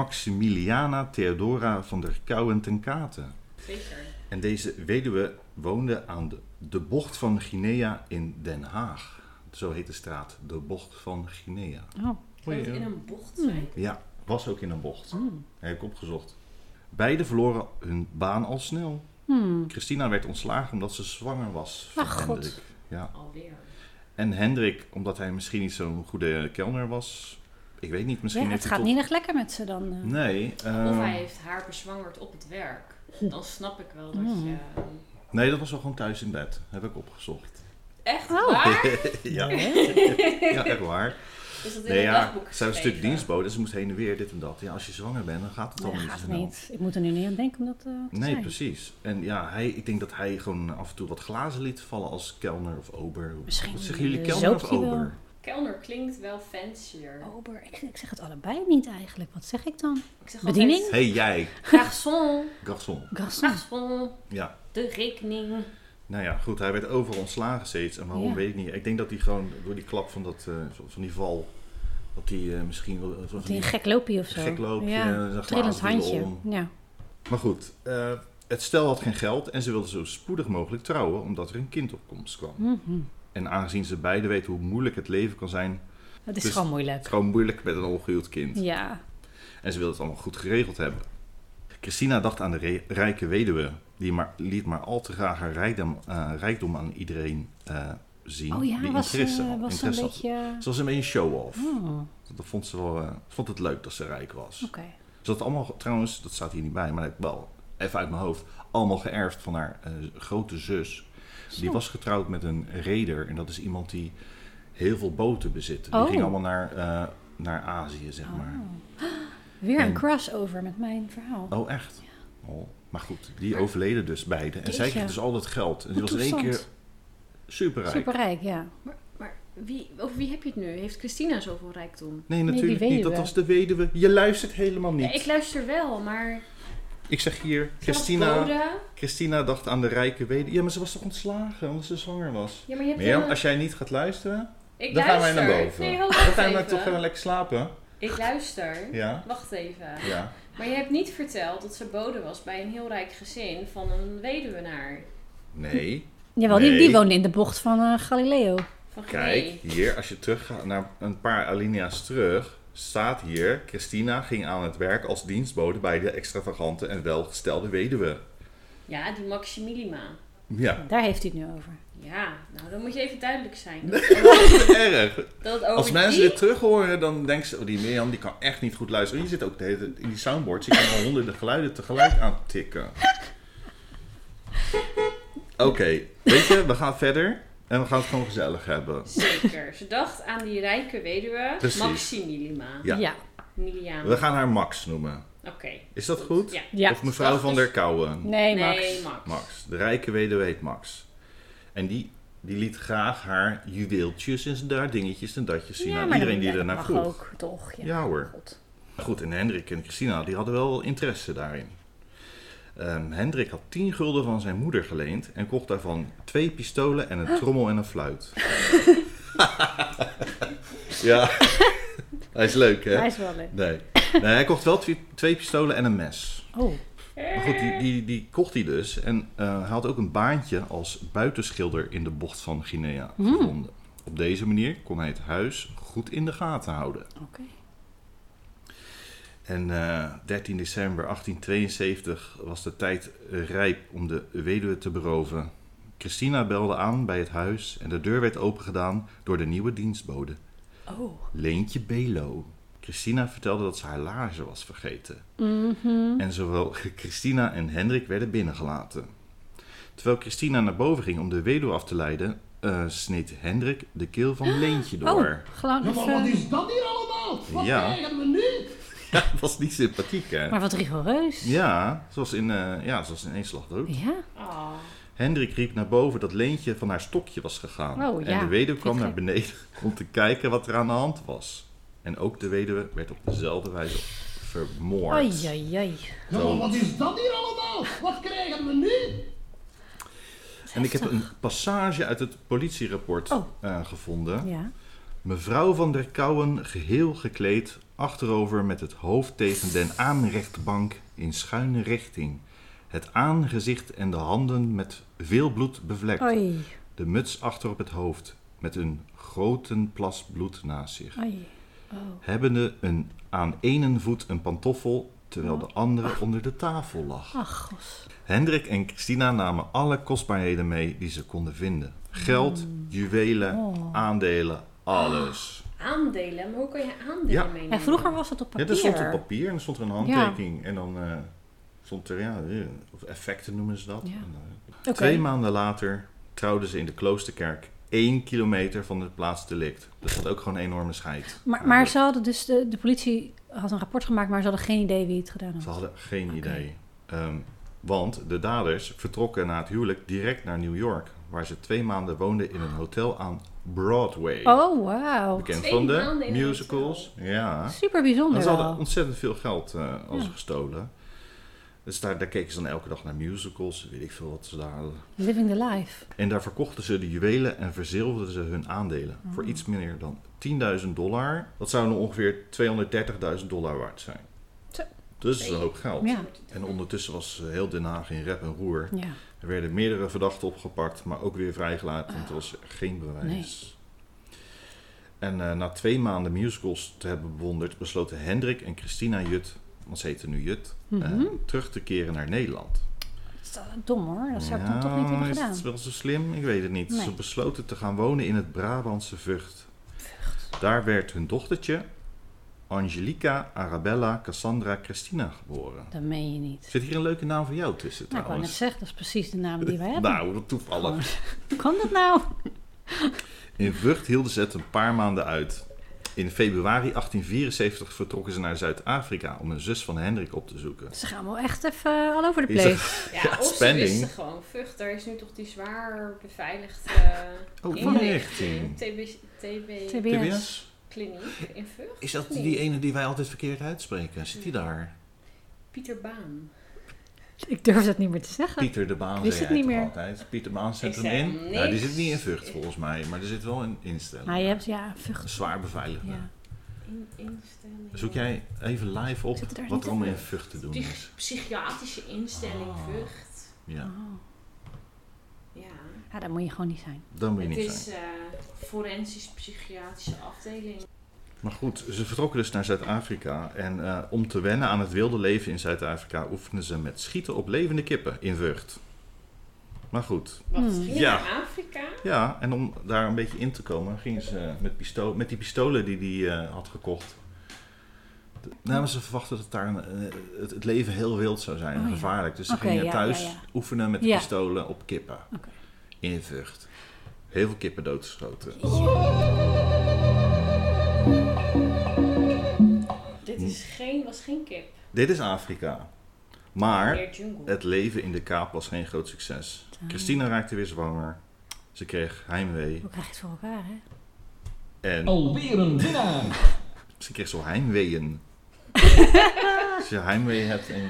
Speaker 1: Maximiliana Theodora van der Kouwen ten Katen.
Speaker 4: Zeker.
Speaker 1: En deze weduwe woonde aan de, de bocht van Guinea in Den Haag. Zo heet de straat, de bocht van Guinea.
Speaker 3: oh.
Speaker 4: Kan het in een bocht
Speaker 3: Hm.
Speaker 4: zijn?
Speaker 1: Ja, was ook in een bocht.
Speaker 3: Hmm.
Speaker 1: Heb ik opgezocht. Beide verloren hun baan al snel.
Speaker 3: Hmm.
Speaker 1: Christina werd ontslagen omdat ze zwanger was van
Speaker 3: Ach, God.
Speaker 1: Hendrik. Ja.
Speaker 4: Alweer.
Speaker 1: En Hendrik, omdat hij misschien niet zo'n goede kelner was. Ik weet niet, misschien
Speaker 3: Ja,
Speaker 1: heeft
Speaker 3: het
Speaker 1: hij
Speaker 3: gaat
Speaker 1: toch-
Speaker 3: niet echt lekker met ze dan. eh.
Speaker 1: Nee,
Speaker 4: Of
Speaker 1: ehm,
Speaker 4: hij heeft haar bezwangerd op het werk. Dan snap ik wel dat
Speaker 3: Hm.
Speaker 4: je...
Speaker 1: nee, dat was wel gewoon thuis in bed. Heb ik opgezocht.
Speaker 4: Echt
Speaker 3: Oh.
Speaker 4: waar?
Speaker 1: ja, ja, echt waar.
Speaker 4: Is dat in
Speaker 1: Nee,
Speaker 4: het
Speaker 1: ja,
Speaker 4: dagboek
Speaker 1: zij was natuurlijk
Speaker 4: geschreven?
Speaker 1: dienstbode, dus ze moest heen en weer dit en dat. Ja, als je zwanger bent, dan gaat het
Speaker 3: Nee,
Speaker 1: allemaal
Speaker 3: dat
Speaker 1: niet zo
Speaker 3: gaat
Speaker 1: snel.
Speaker 3: niet. Ik moet er nu niet aan denken om dat eh, te
Speaker 1: Nee,
Speaker 3: zijn.
Speaker 1: precies. En ja, hij, ik denk dat hij gewoon af en toe wat glazen liet vallen als kelner of ober. Hoe-
Speaker 3: Misschien,
Speaker 1: Wat zeggen jullie,
Speaker 3: eh,
Speaker 1: kelner of
Speaker 3: zoopt hij wel.
Speaker 1: ober?
Speaker 4: Kelner klinkt wel fancier.
Speaker 3: Ober, ik, ik zeg het allebei niet eigenlijk. Wat zeg ik dan?
Speaker 4: Ik zeg
Speaker 3: Bediening?
Speaker 1: Hé, hey, jij,
Speaker 4: altijd, garçon,
Speaker 1: garçon.
Speaker 4: Ah.
Speaker 3: Gasson.
Speaker 4: garçon,
Speaker 1: Ja.
Speaker 4: de rekening.
Speaker 1: Nou ja, goed, hij werd overal ontslagen steeds. En waarom
Speaker 3: Ja.
Speaker 1: weet ik niet. Ik denk dat hij gewoon door die klap van, dat, eh, van- van die val, dat hij eh, misschien wel... van
Speaker 3: Die een gek loopje of zo.
Speaker 1: Gek loopje, een
Speaker 3: ja.
Speaker 1: glazen
Speaker 3: Trillend handje.
Speaker 1: om.
Speaker 3: Ja.
Speaker 1: Maar goed, eh, het stel had geen geld en ze wilden zo spoedig mogelijk trouwen omdat er een kind op komst kwam.
Speaker 3: Mhm.
Speaker 1: En aangezien ze beiden weten hoe moeilijk het leven kan zijn,
Speaker 3: Het is
Speaker 1: Dus-
Speaker 3: gewoon
Speaker 1: het
Speaker 3: moeilijk.
Speaker 1: is gewoon moeilijk met een ongehuwd kind.
Speaker 3: Ja.
Speaker 1: En ze wilde het allemaal goed geregeld hebben. Christina dacht aan de re- rijke weduwe, die maar, liet maar al te graag haar rijkdom, eh, rijkdom aan iedereen eh, zien.
Speaker 3: Oh ja,
Speaker 1: die
Speaker 3: was,
Speaker 1: interesse,
Speaker 3: eh,
Speaker 1: had-
Speaker 3: was
Speaker 1: interesse
Speaker 3: een
Speaker 1: had.
Speaker 3: beetje... eh,
Speaker 1: Ze was een beetje show-off.
Speaker 3: Oh,
Speaker 1: Dat vond ze wel, eh, vond het leuk dat ze rijk was.
Speaker 3: oké.
Speaker 1: Ze had allemaal, trouwens, dat staat hier niet bij, maar ik heb wel even uit mijn hoofd, allemaal geërfd van haar eh, grote zus. Die
Speaker 3: Zo.
Speaker 1: was getrouwd met een reder en dat is iemand die heel veel boten bezit. Die
Speaker 3: Oh.
Speaker 1: ging allemaal naar, eh, naar Azië, zeg maar.
Speaker 3: Weer
Speaker 1: En-
Speaker 3: een crossover met mijn verhaal.
Speaker 1: Oh, echt? Oh. Maar goed, die overleden dus beide. En zij
Speaker 3: Jeetje.
Speaker 1: kreeg dus al dat geld. En die was in één keer
Speaker 3: Interessant.
Speaker 1: superrijk.
Speaker 3: Superrijk, ja.
Speaker 4: Maar, maar wie, over wie heb je het nu? Heeft Christina zoveel rijkdom?
Speaker 1: Nee,
Speaker 3: die
Speaker 1: natuurlijk niet. Dat
Speaker 3: weduwe.
Speaker 1: was de weduwe. Je luistert helemaal niet.
Speaker 4: Ja, ik
Speaker 1: ik,
Speaker 4: luister wel, maar...
Speaker 1: zeg hier,
Speaker 4: ze was
Speaker 1: Christina,
Speaker 4: bode.
Speaker 1: Christina dacht aan de rijke weduwe. Ja, maar ze was toch ontslagen omdat ze zwanger was?
Speaker 4: Ja, maar je hebt
Speaker 1: Mirjam,
Speaker 4: helemaal-
Speaker 1: als jij niet gaat luisteren,
Speaker 4: eh, Ik
Speaker 1: dan gaan wij
Speaker 4: luister.
Speaker 1: naar boven.
Speaker 4: Nee,
Speaker 1: dan
Speaker 4: ho, wacht
Speaker 1: gaan we
Speaker 4: even.
Speaker 1: toch even lekker slapen.
Speaker 4: Ik luister.
Speaker 1: Ja,
Speaker 4: Wacht even.
Speaker 1: ja.
Speaker 4: Maar je hebt niet verteld dat ze bode was bij een heel rijk gezin van een weduwenaar.
Speaker 1: Nee.
Speaker 3: Jawel, die,
Speaker 1: Nee.
Speaker 3: die woonde in de bocht van eh, Galileo.
Speaker 4: Van
Speaker 1: Kijk,
Speaker 4: Guinea.
Speaker 1: hier, als je teruggaat naar een paar alinea's terug, staat hier: Christina ging aan het werk als dienstbode bij de extravagante en welgestelde weduwe.
Speaker 4: Ja, die Maximilima.
Speaker 1: Ja,
Speaker 3: Daar heeft hij het nu over.
Speaker 4: Ja, nou dan moet je even duidelijk zijn.
Speaker 1: erg.
Speaker 3: Oh,
Speaker 4: Dat het over
Speaker 1: Als mensen
Speaker 4: die...
Speaker 1: dit terug horen, dan denken ze: oh, die Mirjam die kan echt niet goed luisteren. Je zit ook de hele tijd in die soundboards, je kan al honderden geluiden tegelijk aantikken. Oké, weet je, we gaan verder en we gaan het gewoon gezellig hebben.
Speaker 4: Zeker. Ze dacht aan die rijke weduwe
Speaker 1: Precies.
Speaker 4: Maximilima.
Speaker 1: Ja.
Speaker 4: Miliama.
Speaker 1: We gaan haar Max noemen.
Speaker 4: Oké.
Speaker 1: Is dat goed?
Speaker 4: Ja.
Speaker 3: Ja.
Speaker 1: Of mevrouw van der Kouwen?
Speaker 3: Nee, Max.
Speaker 4: Nee, Max.
Speaker 1: Max. De rijke weduwe heet Max. En die, die liet graag haar juweeltjes en daar dingetjes en datjes zien aan
Speaker 3: maar
Speaker 1: nou, iedereen
Speaker 3: dan-
Speaker 1: die
Speaker 3: ja,
Speaker 1: ernaar
Speaker 3: mag
Speaker 1: vroeg.
Speaker 3: ook, toch? Ja,
Speaker 1: Ja hoor.
Speaker 3: God.
Speaker 1: Goed, en Hendrik en Christina die hadden wel interesse daarin. Ehm, Hendrik had 10 gulden van zijn moeder geleend en kocht daarvan twee pistolen en een trommel en een fluit. ja, hij is leuk hè?
Speaker 3: Hij is wel leuk.
Speaker 1: Nee. nee, hij kocht wel twee, twee pistolen en een mes.
Speaker 3: Oh,
Speaker 1: Maar goed, die, die, die kocht hij dus. En eh, hij had ook een baantje als buitenschilder in de bocht van Guinea
Speaker 3: Hmm.
Speaker 1: gevonden. Op deze manier kon hij het huis goed in de gaten houden.
Speaker 3: oké.
Speaker 1: En eh, 13 december 1872 was de tijd rijp om de weduwe te beroven. Christina belde aan bij het huis en de deur werd opengedaan door de nieuwe dienstbode.
Speaker 3: Oh.
Speaker 1: Leentje Belo. Christina vertelde dat ze haar laarzen was vergeten.
Speaker 3: Mhm.
Speaker 1: En zowel Christina en Hendrik werden binnengelaten. Terwijl Christina naar boven ging om de weduwe af te leiden, eh sneed Hendrik de keel van Leentje door.
Speaker 3: Oh, gewoon
Speaker 5: Ja, maar
Speaker 3: even-
Speaker 5: wat is dat hier allemaal? Wat
Speaker 1: Ja.
Speaker 5: krijgen we nu?
Speaker 1: Ja, dat was niet sympathiek, hè?
Speaker 3: Maar wat rigoureus.
Speaker 1: Ja, ze was in, eh, ja, ze was in één slag dood.
Speaker 3: Ja?
Speaker 4: Oh.
Speaker 1: Hendrik riep naar boven dat Leentje van haar stokje was gegaan.
Speaker 3: Oh,
Speaker 1: En
Speaker 3: ja.
Speaker 1: de weduwe kwam
Speaker 3: Vind
Speaker 1: naar
Speaker 3: ik
Speaker 1: beneden om te kijken wat er aan de hand was. En ook de weduwe werd op dezelfde wijze vermoord.
Speaker 3: Oei, oei, oei.
Speaker 5: Ja, maar wat is dat hier allemaal? Wat krijgen we nu?
Speaker 1: En ik heb een passage uit het politierapport
Speaker 3: Oh.
Speaker 1: eh, gevonden.
Speaker 3: Ja.
Speaker 1: Mevrouw van der Kouwen geheel gekleed, achterover met het hoofd tegen den aanrechtbank in schuine richting. Het aangezicht en de handen met veel bloed bevlekt.
Speaker 3: Oei,
Speaker 1: De muts achter op het hoofd, met een grote plas bloed naast zich.
Speaker 3: oei. Oh.
Speaker 1: Hebbende een, aan ene voet een pantoffel, terwijl de andere onder de tafel lag.
Speaker 3: Oh. Ach, gos.
Speaker 1: Hendrik en Christina namen alle kostbaarheden mee die ze konden vinden. Geld, juwelen,
Speaker 3: Hmm. Oh.
Speaker 1: aandelen, alles.
Speaker 4: Aandelen, maar hoe kan je aandelen
Speaker 1: Ja.
Speaker 4: meenemen?
Speaker 3: En vroeger was het op
Speaker 1: Ja,
Speaker 3: papier.
Speaker 1: er stond op papier en er stond er een handtekening. En dan eh, stond er, ja, eh, of effecten noemen ze dat.
Speaker 3: Ja.
Speaker 1: En, eh,
Speaker 3: Oké.
Speaker 1: Twee maanden later trouwden ze in de kloosterkerk één kilometer van het plaatsdelict. Dat zat ook gewoon een enorme scheid.
Speaker 3: Maar, maar ze hadden dus, de, de politie had een rapport gemaakt, maar ze hadden geen idee wie het gedaan had.
Speaker 1: Ze hadden geen idee. Ehm, want de daders vertrokken na het huwelijk direct naar New York, waar ze twee maanden woonden in een hotel aan Broadway.
Speaker 3: Oh, wauw.
Speaker 1: Bekend
Speaker 4: Twee
Speaker 1: van
Speaker 4: maanden
Speaker 1: de
Speaker 4: in een
Speaker 1: musicals. Ja.
Speaker 3: Super
Speaker 1: En
Speaker 3: bijzonder
Speaker 1: ze hadden
Speaker 3: wel.
Speaker 1: ontzettend veel geld eh als
Speaker 3: Ja.
Speaker 1: gestolen. Dus daar, daar keken ze dan elke dag naar musicals, weet ik veel wat ze daar hadden.
Speaker 3: Living the life.
Speaker 1: En daar verkochten ze de juwelen en verzilverden ze hun aandelen. Voor
Speaker 3: Hmm.
Speaker 1: iets minder dan 10.000 dollar. Dat zou dan ongeveer 230.000 dollar waard zijn.
Speaker 3: Zo.
Speaker 1: Dus dat is een hoop geld.
Speaker 3: Ja.
Speaker 1: En ondertussen was eh, heel Den Haag in rep en roer.
Speaker 3: ja.
Speaker 1: Er werden meerdere verdachten opgepakt, maar ook weer vrijgelaten, want er was geen bewijs. En eh, na twee maanden musicals te hebben bewonderd, besloten Hendrik en Christina Jut, want ze heten nu Jut, eh,
Speaker 3: Mhm.
Speaker 1: terug te keren naar Nederland.
Speaker 3: Dat is toch dom hoor. Dat zou ik dan toch niet hebben
Speaker 1: is
Speaker 3: gedaan.
Speaker 1: het wel zo slim? Ik weet het niet.
Speaker 3: Nee.
Speaker 1: Ze besloten te gaan wonen in het Brabantse Vught. Daar werd hun dochtertje Angelica, Arabella, Cassandra, Christina geboren.
Speaker 3: Dat meen je niet.
Speaker 1: Zit hier een leuke naam voor jou tussen
Speaker 3: Nou, ik wou net
Speaker 1: trouwens?
Speaker 3: zeggen, dat is precies de naam die wij hebben.
Speaker 1: nou, wat toevallig.
Speaker 3: Hoe kan dat nou?
Speaker 1: In Vught hielden ze het een paar maanden uit. In februari 1874 vertrokken ze naar Zuid-Afrika om een zus van Hendrik op te zoeken.
Speaker 3: Ze gaan wel echt even eh, all over the
Speaker 1: Is
Speaker 3: place.
Speaker 4: Ja,
Speaker 1: Ja,
Speaker 4: of ze
Speaker 1: spending.
Speaker 4: wisten gewoon, Vught, daar is nu toch die zwaar beveiligde eh,
Speaker 1: Oh, inrichting.
Speaker 4: inrichting. TB, TB
Speaker 3: TBS.
Speaker 4: kliniek in Vught.
Speaker 1: Is dat
Speaker 4: Nee.
Speaker 1: die ene die wij altijd verkeerd uitspreken? Zit die daar?
Speaker 4: Pieter Baan.
Speaker 3: Ik durf dat niet meer te zeggen.
Speaker 1: Pieter de Baan
Speaker 3: Wist
Speaker 1: zei
Speaker 3: het
Speaker 1: jij
Speaker 3: niet
Speaker 1: toch
Speaker 3: meer.
Speaker 1: altijd. Pieter Baan zet
Speaker 4: Ik
Speaker 1: hem
Speaker 4: zei
Speaker 1: in.
Speaker 4: niks.
Speaker 1: Nou, die zit niet in Vught volgens mij, maar er zit wel een instelling.
Speaker 3: Maar je hebt, ja,
Speaker 1: Een
Speaker 3: vucht.
Speaker 1: zwaar beveiligde.
Speaker 3: Ja.
Speaker 4: In, instelling.
Speaker 1: Zoek jij even live op
Speaker 3: Zit het daar
Speaker 1: wat
Speaker 3: niet
Speaker 1: er allemaal
Speaker 3: in?
Speaker 1: in Vught te doen
Speaker 4: Die
Speaker 1: is.
Speaker 4: psychiatrische instelling
Speaker 1: Ah.
Speaker 4: Vught.
Speaker 1: Ja,
Speaker 3: Oh.
Speaker 4: Ja.
Speaker 3: Ja, dat moet je gewoon niet zijn.
Speaker 1: dat moet je
Speaker 4: Het
Speaker 1: niet
Speaker 4: is
Speaker 1: zijn.
Speaker 4: eh, forensisch-psychiatrische afdeling.
Speaker 1: Maar goed, ze vertrokken dus naar Zuid-Afrika. En eh, om te wennen aan het wilde leven in Zuid-Afrika oefenden ze met schieten op levende kippen in Vught. Maar goed,
Speaker 4: Wat
Speaker 3: Hmm.
Speaker 4: ging
Speaker 1: Ja.
Speaker 4: naar Afrika?
Speaker 1: ja, en om daar een beetje in te komen, gingen ze met, pisto met die pistolen die hij had gekocht. De- Nou, maar ze verwachten dat daar een, eh, het, het leven heel wild zou zijn en
Speaker 3: Oh ja.
Speaker 1: gevaarlijk. Dus ze
Speaker 3: Oké,
Speaker 1: gingen
Speaker 3: ja,
Speaker 1: thuis
Speaker 3: ja, ja.
Speaker 1: oefenen met de
Speaker 3: Ja.
Speaker 1: pistolen op kippen
Speaker 3: Oké.
Speaker 1: in Vught. Heel veel kippen doodgeschoten.
Speaker 4: Dit is
Speaker 1: Hm.
Speaker 4: geen, was geen kip.
Speaker 1: Dit is Afrika. Maar
Speaker 4: Meer jungle.
Speaker 1: Het leven in de kaap was geen groot succes. Christina raakte weer zwanger. Ze kreeg heimwee.
Speaker 3: Hoe krijg je het voor elkaar, hè?
Speaker 1: En
Speaker 5: Alweer een winnaar.
Speaker 1: ze kreeg zo heimweeën. Als je heimwee hebt en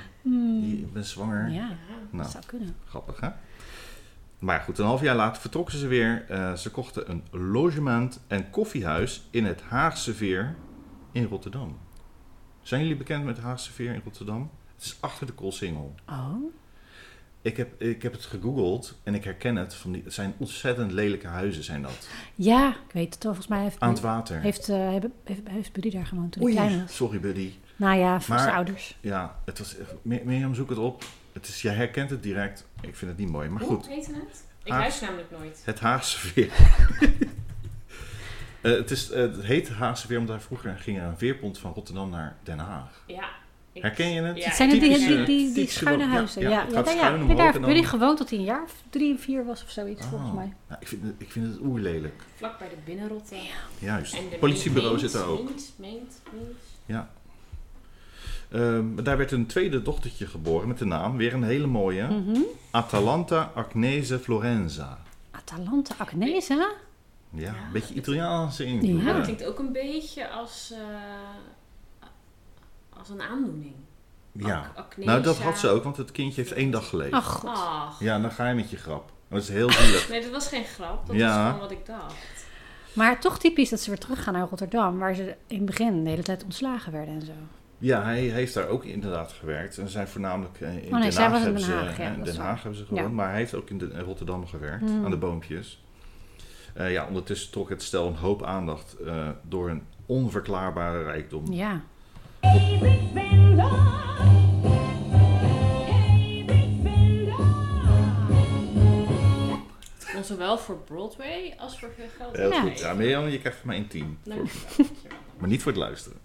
Speaker 1: je bent zwanger.
Speaker 3: Hmm. Ja, dat
Speaker 1: Nou,
Speaker 3: zou kunnen.
Speaker 1: grappig hè? Maar goed, een half jaar later vertrokken ze weer. Eh, ze kochten een logement en koffiehuis in het Haagse Veer in Rotterdam. Zijn jullie bekend met het Haagse Veer in Rotterdam? Het is achter de Koolsingel.
Speaker 3: Oh,
Speaker 1: Ik heb, ik heb het gegoogeld en ik herken het. Van die, het zijn ontzettend lelijke huizen zijn dat.
Speaker 3: ja, ik weet het wel. Volgens mij heeft,
Speaker 1: Aan het water.
Speaker 3: heeft, eh, hebben- heeft, heeft Buddy daar gewoond toen hij
Speaker 1: Oei,
Speaker 3: klein was.
Speaker 1: Sorry, buddy.
Speaker 3: Nou ja, voor
Speaker 1: Maar-
Speaker 3: zijn ouders.
Speaker 1: Ja, het was. echt- Mir- Mirjam, zoek het op. Het is, jij herkent het direct. Ik vind het niet mooi, maar
Speaker 4: Hoe
Speaker 1: goed.
Speaker 4: heette het? Ik
Speaker 1: Haag.
Speaker 4: luister namelijk nooit.
Speaker 1: Het Haagse veer. Eh, het, is, eh, het heet Haagse veer, omdat daar vroeger ging er een veerpont van Rotterdam naar Den Haag.
Speaker 4: Ja. ik-
Speaker 1: Herken je het? eh,
Speaker 4: Ja,
Speaker 3: Het zijn het die,
Speaker 1: typische-
Speaker 3: die, die, die
Speaker 1: typische-
Speaker 3: schuine
Speaker 1: ja,
Speaker 3: huizen.
Speaker 1: ja,
Speaker 3: Ja,
Speaker 1: het
Speaker 3: ja,
Speaker 1: gaat
Speaker 3: ja,
Speaker 1: schuin
Speaker 3: ja.
Speaker 1: omhoog
Speaker 3: Daar
Speaker 1: en
Speaker 3: heeft
Speaker 1: dan-
Speaker 3: Buddy gewoond tot hij een jaar of drie, vier was of zoiets, volgens mij.
Speaker 1: Nou, ik, vind het, ik vind het oerlelijk.
Speaker 4: Vlak bij de binnenrotte.
Speaker 1: Juist.
Speaker 4: En de
Speaker 1: Het politiebureau
Speaker 4: meent,
Speaker 1: zit daar ook.
Speaker 4: meent, meent, meent.
Speaker 1: Ja. Ehm, daar werd een tweede dochtertje geboren met de naam, weer een hele mooie,
Speaker 4: Hm.
Speaker 3: Mhm.
Speaker 1: Atalanta Agnese Florenza.
Speaker 3: Atalanta Agnese?
Speaker 1: Ja,
Speaker 4: Ja.
Speaker 1: een beetje Italiaanse in.
Speaker 3: Ja.
Speaker 4: Nou, Dat klinkt ook een beetje als, eh, als een aandoening.
Speaker 1: Ja.
Speaker 4: Ac- acne,
Speaker 1: Nou, dat
Speaker 4: ja.
Speaker 1: had ze ook, want het kindje heeft één dag geleefd.
Speaker 3: Ach, Oh, god.
Speaker 4: Ach.
Speaker 1: Ja, dan ga je met je grap. Dat is heel zielig.
Speaker 4: Nee, dat was geen grap. Dat
Speaker 1: Ja.
Speaker 4: was gewoon wat ik dacht.
Speaker 3: Maar toch typisch dat ze weer teruggaan naar Rotterdam, waar ze in het begin de hele tijd ontslagen werden en zo.
Speaker 1: Ja, hij heeft daar ook inderdaad gewerkt. En ze zijn voornamelijk eh, in
Speaker 3: Oh nee,
Speaker 1: Den
Speaker 3: zij
Speaker 1: Haag
Speaker 3: was in
Speaker 1: hebben
Speaker 3: Den
Speaker 1: ze-
Speaker 3: Haag, ja,
Speaker 1: eh, in
Speaker 3: dat is
Speaker 1: Den
Speaker 3: waar.
Speaker 1: Haag hebben ze gewoond,
Speaker 3: Ja. Hmm.
Speaker 1: maar hij heeft ook in, de, in Rotterdam gewerkt, aan de boompjes. Eh, ja, ondertussen trok het stel een hoop aandacht eh, door een onverklaarbare rijkdom.
Speaker 3: Ja.
Speaker 4: kan zowel voor Broadway als voor veel geld.
Speaker 1: Heel
Speaker 3: Ja.
Speaker 1: goed. Ja, Mirjam, je krijgt van mij een 10.
Speaker 4: Dankjewel.
Speaker 1: Maar niet voor het luisteren.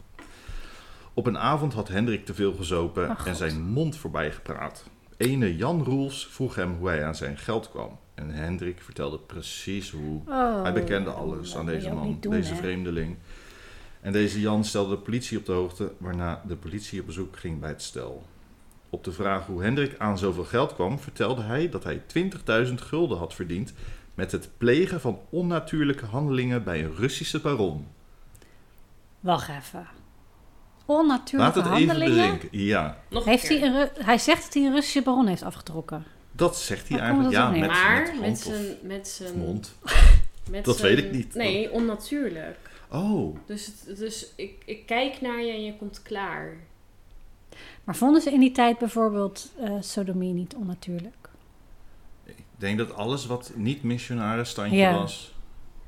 Speaker 1: Op een avond had Hendrik te veel gezopen
Speaker 3: Ach,
Speaker 1: en
Speaker 3: Oh, God.
Speaker 1: zijn mond voorbij gepraat. Ene Jan Roels vroeg hem hoe hij aan zijn geld kwam. En Hendrik vertelde precies hoe.
Speaker 3: Oh,
Speaker 1: hij bekende alles
Speaker 3: dat
Speaker 1: aan
Speaker 3: moet je
Speaker 1: deze
Speaker 3: ook
Speaker 1: man,
Speaker 3: niet doen,
Speaker 1: deze
Speaker 3: hè?
Speaker 1: vreemdeling. En deze Jan stelde de politie op de hoogte, waarna de politie op bezoek ging bij het stel. Op de vraag hoe Hendrik aan zoveel geld kwam, vertelde hij dat hij 20.000 gulden had verdiend met het plegen van onnatuurlijke handelingen bij een Russische baron.
Speaker 3: Wacht even.
Speaker 1: Laat
Speaker 3: Onnatuurlijke
Speaker 1: het even
Speaker 3: handelingen.
Speaker 1: bezinken. Ja,
Speaker 4: Nog een
Speaker 3: heeft
Speaker 4: keer.
Speaker 3: hij, een Ru- hij zegt dat hij een Russische baron heeft afgetrokken.
Speaker 1: dat zegt hij
Speaker 3: Waar komt
Speaker 1: eigenlijk.
Speaker 3: dat
Speaker 1: Ja,
Speaker 3: op neer?
Speaker 1: met,
Speaker 4: maar
Speaker 1: met, hand
Speaker 4: met
Speaker 1: of
Speaker 4: zijn... Met zijn
Speaker 1: mond.
Speaker 4: met
Speaker 1: Dat
Speaker 4: zijn-
Speaker 1: weet ik niet.
Speaker 4: Nee, onnatuurlijk.
Speaker 1: Oh,
Speaker 4: Dus, het, dus ik, ik kijk naar je en je komt klaar.
Speaker 3: Maar vonden ze in die tijd bijvoorbeeld eh, sodomie niet onnatuurlijk?
Speaker 1: ik denk dat alles wat niet missionaris standje
Speaker 3: Ja.
Speaker 1: was...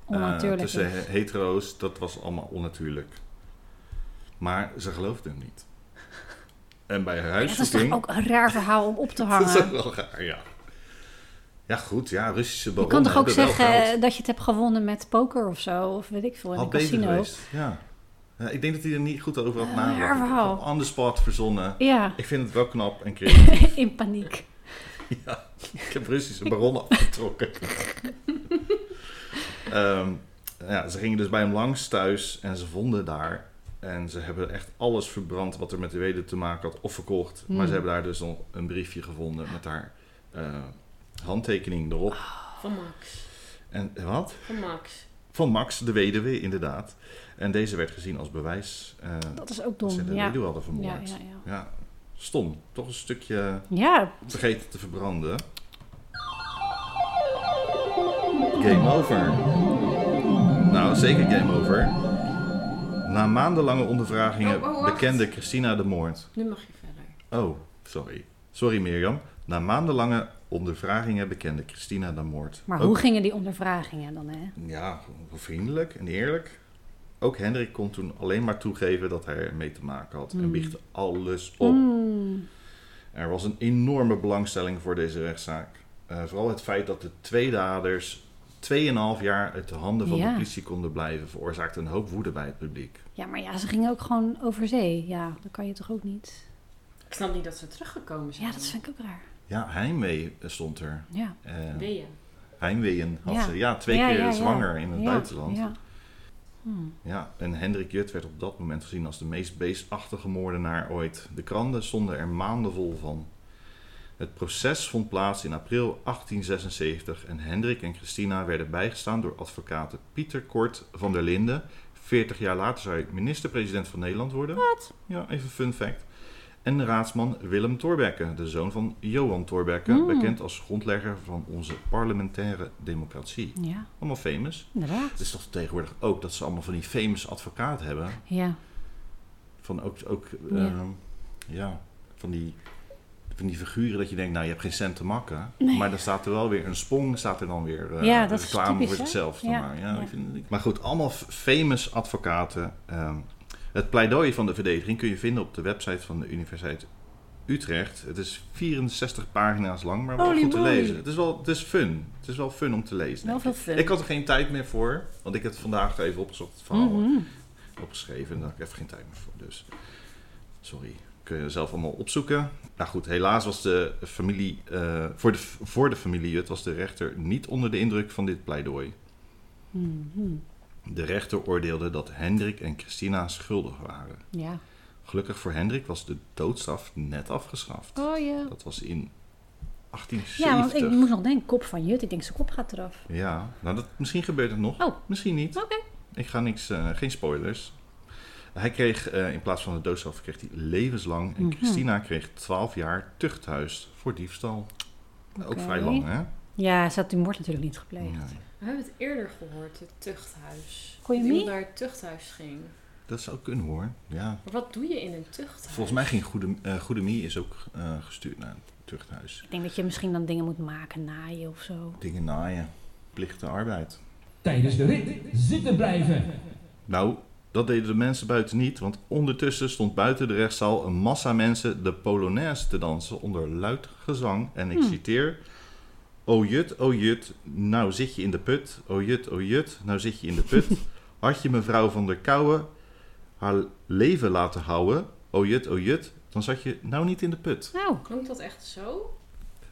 Speaker 1: eh,
Speaker 3: Onnatuurlijk.
Speaker 1: tussen
Speaker 3: is.
Speaker 1: he- hetero's, dat was allemaal onnatuurlijk. Maar ze geloofden hem niet. En bij
Speaker 3: dat is toch
Speaker 1: huiszoeking...
Speaker 3: ook een raar verhaal om op te
Speaker 1: dat is ook
Speaker 3: hangen.
Speaker 1: wel raar, ja. Ja, goed, ja, Russische
Speaker 3: Je
Speaker 1: baron.
Speaker 3: kan toch ook zeggen dat je het hebt gewonnen met poker of zo, of weet ik veel, in
Speaker 1: Had
Speaker 3: een
Speaker 1: beter
Speaker 3: casino.
Speaker 1: geweest, ja. Ja, Ik denk dat hij er niet goed over had
Speaker 3: Ah,
Speaker 1: nagedacht.
Speaker 3: raar verhaal.
Speaker 1: Op On the spot verzonnen.
Speaker 3: Ja,
Speaker 1: Ik vind het wel knap en creatief.
Speaker 3: in paniek.
Speaker 1: Ja, ik heb Russische baron afgetrokken. Ehm, ja, ze gingen dus bij hem langs thuis en ze vonden daar. En ze hebben echt alles verbrand wat er met de weduwe te maken had of verkocht. Maar
Speaker 3: Hmm.
Speaker 1: ze hebben daar dus nog een briefje gevonden met haar eh, handtekening erop.
Speaker 4: Van Max.
Speaker 1: En eh, wat?
Speaker 4: Van Max.
Speaker 1: Van Max, de weduwe, inderdaad. En deze werd gezien als bewijs eh,
Speaker 3: Dat is ook
Speaker 1: dat ze
Speaker 3: dom.
Speaker 1: de
Speaker 3: Ja.
Speaker 1: weduwe hadden
Speaker 3: Ja,
Speaker 1: vermoord.
Speaker 3: ja,
Speaker 1: Ja,
Speaker 3: ja.
Speaker 1: stom. Toch een stukje
Speaker 3: ja,
Speaker 1: vergeten te verbranden. Game over. Nou, zeker game over. Na maandenlange ondervragingen
Speaker 4: Oh, oh, wacht.
Speaker 1: bekende Christina de moord.
Speaker 4: Nu mag je verder.
Speaker 1: Oh, sorry. Sorry Mirjam. Na maandenlange ondervragingen bekende Christina de moord.
Speaker 3: maar
Speaker 1: Ook-
Speaker 3: hoe gingen die ondervragingen dan, hè?
Speaker 1: Ja, vriendelijk en eerlijk. Ook Hendrik kon toen alleen maar toegeven dat hij ermee te maken had. En
Speaker 3: Hmm.
Speaker 1: biechtte alles op.
Speaker 3: Mm.
Speaker 1: Er was een enorme belangstelling voor deze rechtszaak. Eh, vooral het feit dat de twee daders 2,5 jaar uit de handen van de
Speaker 3: Ja.
Speaker 1: politie konden blijven, veroorzaakte een hoop woede bij het publiek.
Speaker 3: Ja, maar ja, ze gingen ook gewoon over zee. Ja, dat kan je toch ook niet?
Speaker 4: Ik snap niet dat ze teruggekomen zijn.
Speaker 3: Ja, dat vind ik ook raar.
Speaker 1: Ja, heimwee eh, stond er.
Speaker 3: Ja.
Speaker 1: Eh,
Speaker 4: Ben je?
Speaker 1: heimweeën had
Speaker 3: Ja.
Speaker 1: ze. Ja, twee
Speaker 3: Ja,
Speaker 1: keer
Speaker 3: ja, ja.
Speaker 1: zwanger in het
Speaker 3: Ja,
Speaker 1: buitenland. Ja.
Speaker 3: Ja. Hm.
Speaker 1: en Hendrik Jut werd op dat moment gezien als de meest beestachtige moordenaar ooit. De kranten stonden er maanden vol van. Het proces vond plaats in april 1876 en Hendrik en Christina werden bijgestaan door advocaten Pieter Kort van der Linden. 40 jaar later zou hij minister-president van Nederland worden. Wat? Ja, even fun fact. En raadsman Willem Thorbecke, de zoon van Johan Thorbecke,
Speaker 3: Mm.
Speaker 1: bekend als grondlegger van onze parlementaire democratie.
Speaker 3: ja,
Speaker 1: Allemaal famous.
Speaker 3: inderdaad.
Speaker 1: Het is toch tegenwoordig ook dat ze allemaal van die famous advocaten hebben.
Speaker 3: Ja.
Speaker 1: Van ook, ook
Speaker 3: Ja.
Speaker 1: ehm, ja, van die, van die figuren dat je denkt, nou je hebt geen cent te makken.
Speaker 3: Nee.
Speaker 1: Maar dan staat er wel weer een sprong, staat er dan weer eh,
Speaker 3: Ja,
Speaker 1: een
Speaker 3: dat is
Speaker 1: reclame
Speaker 3: typisch,
Speaker 1: voor
Speaker 3: hè?
Speaker 1: zichzelf. dan
Speaker 3: Ja,
Speaker 1: Maar. Ja,
Speaker 3: ja.
Speaker 1: ik vind het- maar goed, allemaal f- famous advocaten. ehm. het pleidooi van de verdediging kun je vinden op de website van de Universiteit Utrecht. Het is 64 pagina's lang, maar wel
Speaker 3: Holy
Speaker 1: goed te
Speaker 3: moly.
Speaker 1: lezen. Het is wel het is fun. Het is wel fun om te lezen.
Speaker 3: Wel
Speaker 1: denk ik.
Speaker 3: veel fun.
Speaker 1: Ik had er geen tijd meer voor, want ik heb het vandaag even opgezocht, het verhaal
Speaker 3: Mhm.
Speaker 1: opgeschreven. En daar heb ik even geen tijd meer voor. Dus sorry, kun je zelf allemaal opzoeken. Nou goed, helaas was de familie, eh, voor, de, voor de familie Jut was de rechter niet onder de indruk van dit pleidooi.
Speaker 3: Mhm.
Speaker 1: De rechter oordeelde dat Hendrik en Christina schuldig waren.
Speaker 3: Ja.
Speaker 1: Gelukkig voor Hendrik was de doodstraf net afgeschaft.
Speaker 3: Oh ja.
Speaker 1: Dat was in
Speaker 3: Ja, want
Speaker 1: 1870.
Speaker 3: ik moest nog denken, kop van Jut. Ik denk, zijn kop gaat eraf.
Speaker 1: Ja, nou dat, misschien gebeurt het nog.
Speaker 3: Oh.
Speaker 1: Misschien niet.
Speaker 3: Oké.
Speaker 1: Ik ga niks, eh, geen spoilers. Hij kreeg eh, in plaats van de doodstraf kreeg hij levenslang. En
Speaker 3: Mhm.
Speaker 1: Christina kreeg 12 jaar tuchthuis voor diefstal. Nou, Ook
Speaker 3: Oké.
Speaker 1: vrij lang, hè?
Speaker 3: Ja, ze had die moord natuurlijk niet gepleegd.
Speaker 1: Nee.
Speaker 4: We hebben het eerder gehoord, het tuchthuis.
Speaker 3: Kon je
Speaker 4: Dat iemand
Speaker 3: mee?
Speaker 4: naar het tuchthuis ging.
Speaker 1: Dat zou kunnen hoor. Ja.
Speaker 4: Maar wat doe je in een tuchthuis?
Speaker 1: Volgens mij ging Goede, eh Goede Mie is ook eh, gestuurd naar het tuchthuis.
Speaker 3: Ik denk dat je misschien dan dingen moet maken, naaien of zo.
Speaker 1: Dingen naaien, plichte arbeid.
Speaker 5: Tijdens de rit zitten blijven.
Speaker 1: Nou, dat deden de mensen buiten niet, want ondertussen stond buiten de rechtszaal een massa mensen de Polonaise te dansen onder luid gezang. En ik citeer: Oh jut, oh jut, nou zit je in de put. Oh jut, oh jut, nou zit je in de put. Had je mevrouw van der Kouwen haar leven laten houden, oh jut, oh jut, dan zat je nou niet in de put.
Speaker 3: Nou,
Speaker 4: Klonk dat echt zo?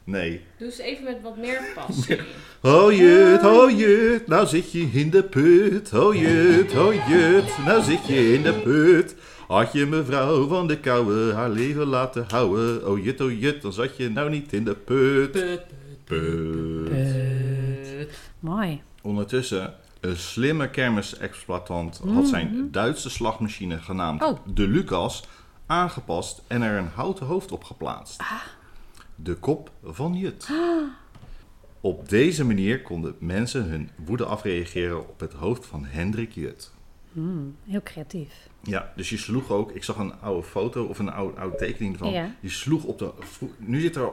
Speaker 1: Nee.
Speaker 4: Doe eens even met wat meer passie.
Speaker 1: Oh jut, oh jut, nou zit je in de put. Oh jut, oh jut, nou zit je in de put. Had je mevrouw van der Kouwen haar leven laten houden, oh jut, oh jut, dan zat je nou niet in de put.
Speaker 4: Put,
Speaker 1: Put.
Speaker 5: Eh.
Speaker 4: put.
Speaker 3: mooi.
Speaker 1: Ondertussen, een slimme kermisexploitant had zijn Duitse slagmachine genaamd
Speaker 3: Mhm. Oh.
Speaker 1: de Lucas aangepast en er een houten hoofd op geplaatst.
Speaker 3: Ah.
Speaker 1: De kop van Jut. Op deze manier konden mensen hun woede afreageren op het hoofd van Hendrik Jut.
Speaker 3: Heel creatief.
Speaker 1: Ja, dus je sloeg ook. Ik zag een oude foto of een oude, oude tekening van.
Speaker 3: Ja.
Speaker 1: Je sloeg op de. vro- Nu zit er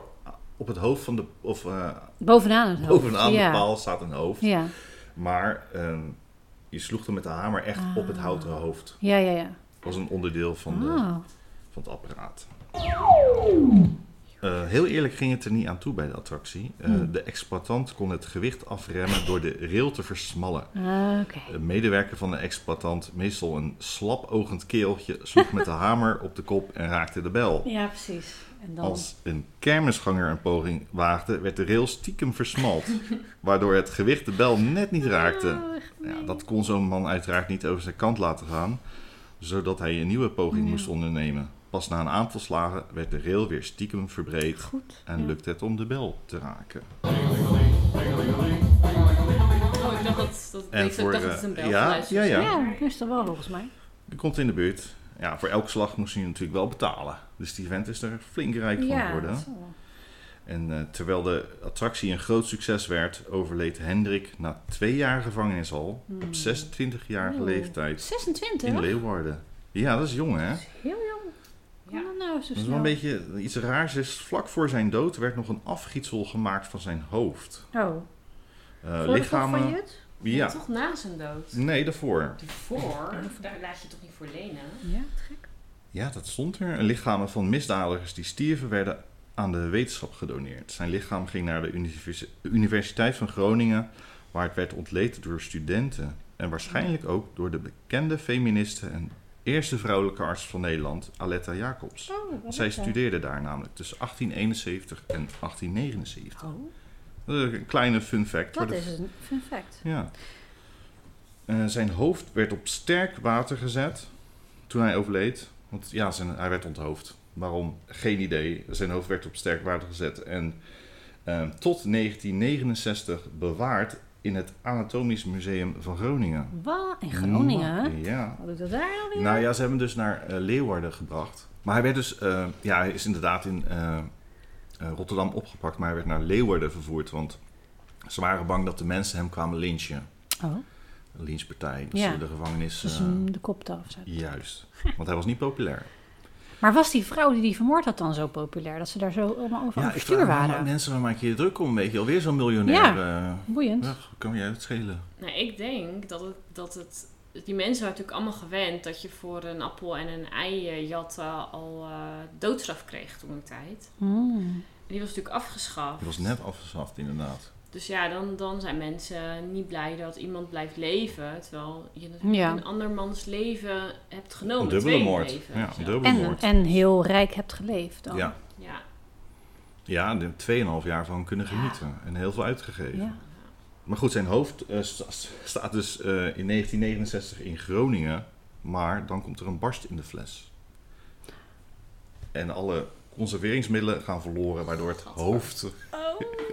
Speaker 1: op het hoofd van de. Of eh,
Speaker 3: Bovenaan het hoofd.
Speaker 1: bovenaan
Speaker 3: ja.
Speaker 1: de paal staat een hoofd.
Speaker 3: Ja,
Speaker 1: Maar ehm, je sloeg hem met de hamer echt
Speaker 3: Ah.
Speaker 1: op het houten hoofd.
Speaker 3: ja, ja. ja.
Speaker 1: Dat was een onderdeel van, de,
Speaker 3: Oh.
Speaker 1: van het apparaat. Eh, heel eerlijk ging het er niet aan toe bij de attractie. Eh,
Speaker 3: Hmm.
Speaker 1: De exploitant kon het gewicht afremmen door de rail te versmallen.
Speaker 3: Ah, Oké.
Speaker 1: Een medewerker van de exploitant, meestal een slapogend keeltje, sloeg met de hamer op de kop en raakte de bel.
Speaker 3: Ja, precies. En dan...
Speaker 1: Als een kermisganger een poging waagde, werd de rail stiekem versmalt, waardoor het gewicht de bel net niet raakte.
Speaker 3: Oh, echt
Speaker 1: Ja,
Speaker 3: nee.
Speaker 1: dat kon zo'n man uiteraard niet over zijn kant laten gaan, zodat hij een nieuwe poging moest ondernemen. Pas na een aantal slagen werd de rail weer stiekem verbreed
Speaker 3: Goed.
Speaker 1: en lukte het om de bel te raken.
Speaker 4: Oh, ik dacht dat, dat,
Speaker 1: En
Speaker 4: ik
Speaker 1: voor,
Speaker 4: dacht dat het
Speaker 1: eh,
Speaker 4: een bel
Speaker 1: ja,
Speaker 4: geluid
Speaker 1: ja,
Speaker 4: was.
Speaker 1: ja.
Speaker 3: Ja, dat is toch wel volgens mij.
Speaker 1: Die komt in de buurt. Ja, voor elke slag moest hij natuurlijk wel betalen. Dus die vent is er flink rijk van
Speaker 3: Ja,
Speaker 1: geworden.
Speaker 3: dat zal wel.
Speaker 1: En eh, terwijl de attractie een groot succes werd, overleed Hendrik na twee jaar gevangenis al,
Speaker 3: Hmm.
Speaker 1: op 26-jarige
Speaker 3: Oeh.
Speaker 1: leeftijd,
Speaker 3: 26?
Speaker 1: in Leeuwarden. Ja, dat is jong hè?
Speaker 3: Heel jong. Kan
Speaker 4: Ja.
Speaker 3: dat nou zo
Speaker 1: Dat
Speaker 3: snel?
Speaker 1: is wel een beetje eh, iets raars. Is, vlak voor zijn dood werd nog een afgietsel gemaakt van zijn hoofd.
Speaker 3: Oh.
Speaker 1: Eh,
Speaker 3: Voor de kop
Speaker 1: lichamen.
Speaker 3: van Jut?
Speaker 1: ja.
Speaker 4: Toch na zijn dood.
Speaker 1: Nee, daarvoor.
Speaker 4: Voor, daar laat je toch niet voor lenen?
Speaker 3: Ja, te gek.
Speaker 1: Ja, dat stond er. Lichamen van misdadigers die stierven werden aan de wetenschap gedoneerd. Zijn lichaam ging naar de univers- Universiteit van Groningen, waar het werd ontleed door studenten. En waarschijnlijk ook door de bekende feministe en eerste vrouwelijke arts van Nederland, Aletta Jacobs.
Speaker 3: Oh, wat
Speaker 1: Zij
Speaker 3: is dat?
Speaker 1: studeerde daar namelijk tussen 1871 en 1879.
Speaker 3: Oh,
Speaker 1: Dat is Eh, een kleine fun fact. voor
Speaker 3: dat
Speaker 1: de-
Speaker 3: is een fun fact.
Speaker 1: Ja. Eh, zijn hoofd werd op sterk water gezet toen hij overleed. Want ja, zijn, hij werd onthoofd. Waarom? Geen idee. Zijn hoofd werd op sterk water gezet en eh, tot 1969 bewaard in het Anatomisch Museum van Groningen.
Speaker 3: Wat? In Groningen? hè?
Speaker 1: Ja.
Speaker 3: Wat doet dat daar nou weer?
Speaker 1: Nou ja, ze hebben hem dus naar eh, Leeuwarden gebracht. Maar hij werd dus, eh, ja, hij is inderdaad in eh, eh, Rotterdam opgepakt, maar hij werd naar Leeuwarden vervoerd. Want ze waren bang dat de mensen hem kwamen lynchen.
Speaker 3: Oh,
Speaker 1: Een lynchpartij, dus
Speaker 3: Ja.
Speaker 1: eh, de gevangenis.
Speaker 3: dus
Speaker 1: dus, eh,
Speaker 3: hem de kop eraf zetten.
Speaker 1: juist. Want hij was niet populair.
Speaker 3: Maar was die vrouw die die vermoord had dan zo populair? Dat ze daar zo allemaal over aan het
Speaker 1: vraag
Speaker 3: stuur
Speaker 1: me af, maar
Speaker 3: waren?
Speaker 1: mensen, waar maak je je druk om? Weet je, alweer zo'n miljonair. eh,
Speaker 3: Boeiend.
Speaker 1: ja, kan jij het schelen?
Speaker 4: Nou, ik denk dat het, dat het... Die mensen waren natuurlijk allemaal gewend dat je voor een appel en een ei eh, jatten al eh, doodstraf kreeg toen een tijd.
Speaker 3: Hmm.
Speaker 4: En die was natuurlijk afgeschaft.
Speaker 1: Het was net afgeschaft, inderdaad.
Speaker 4: Dus ja, dan, dan zijn mensen niet blij dat iemand blijft leven. Terwijl je natuurlijk
Speaker 3: Ja.
Speaker 4: een andermans leven hebt genomen.
Speaker 1: een dubbele
Speaker 4: twee
Speaker 1: moord.
Speaker 4: Leven,
Speaker 1: ja,
Speaker 4: zo.
Speaker 1: een dubbele
Speaker 3: dus En,
Speaker 1: moord.
Speaker 3: en heel rijk hebt geleefd dan.
Speaker 1: ja,
Speaker 4: Ja.
Speaker 1: ja, er 2,5 jaar van kunnen
Speaker 3: Ja.
Speaker 1: genieten. En heel veel uitgegeven.
Speaker 3: Ja.
Speaker 1: Maar goed, zijn hoofd eh, sta- staat dus eh, in 1969 in Groningen. Maar dan komt er een barst in de fles. En alle conserveringsmiddelen gaan verloren, waardoor het hoofd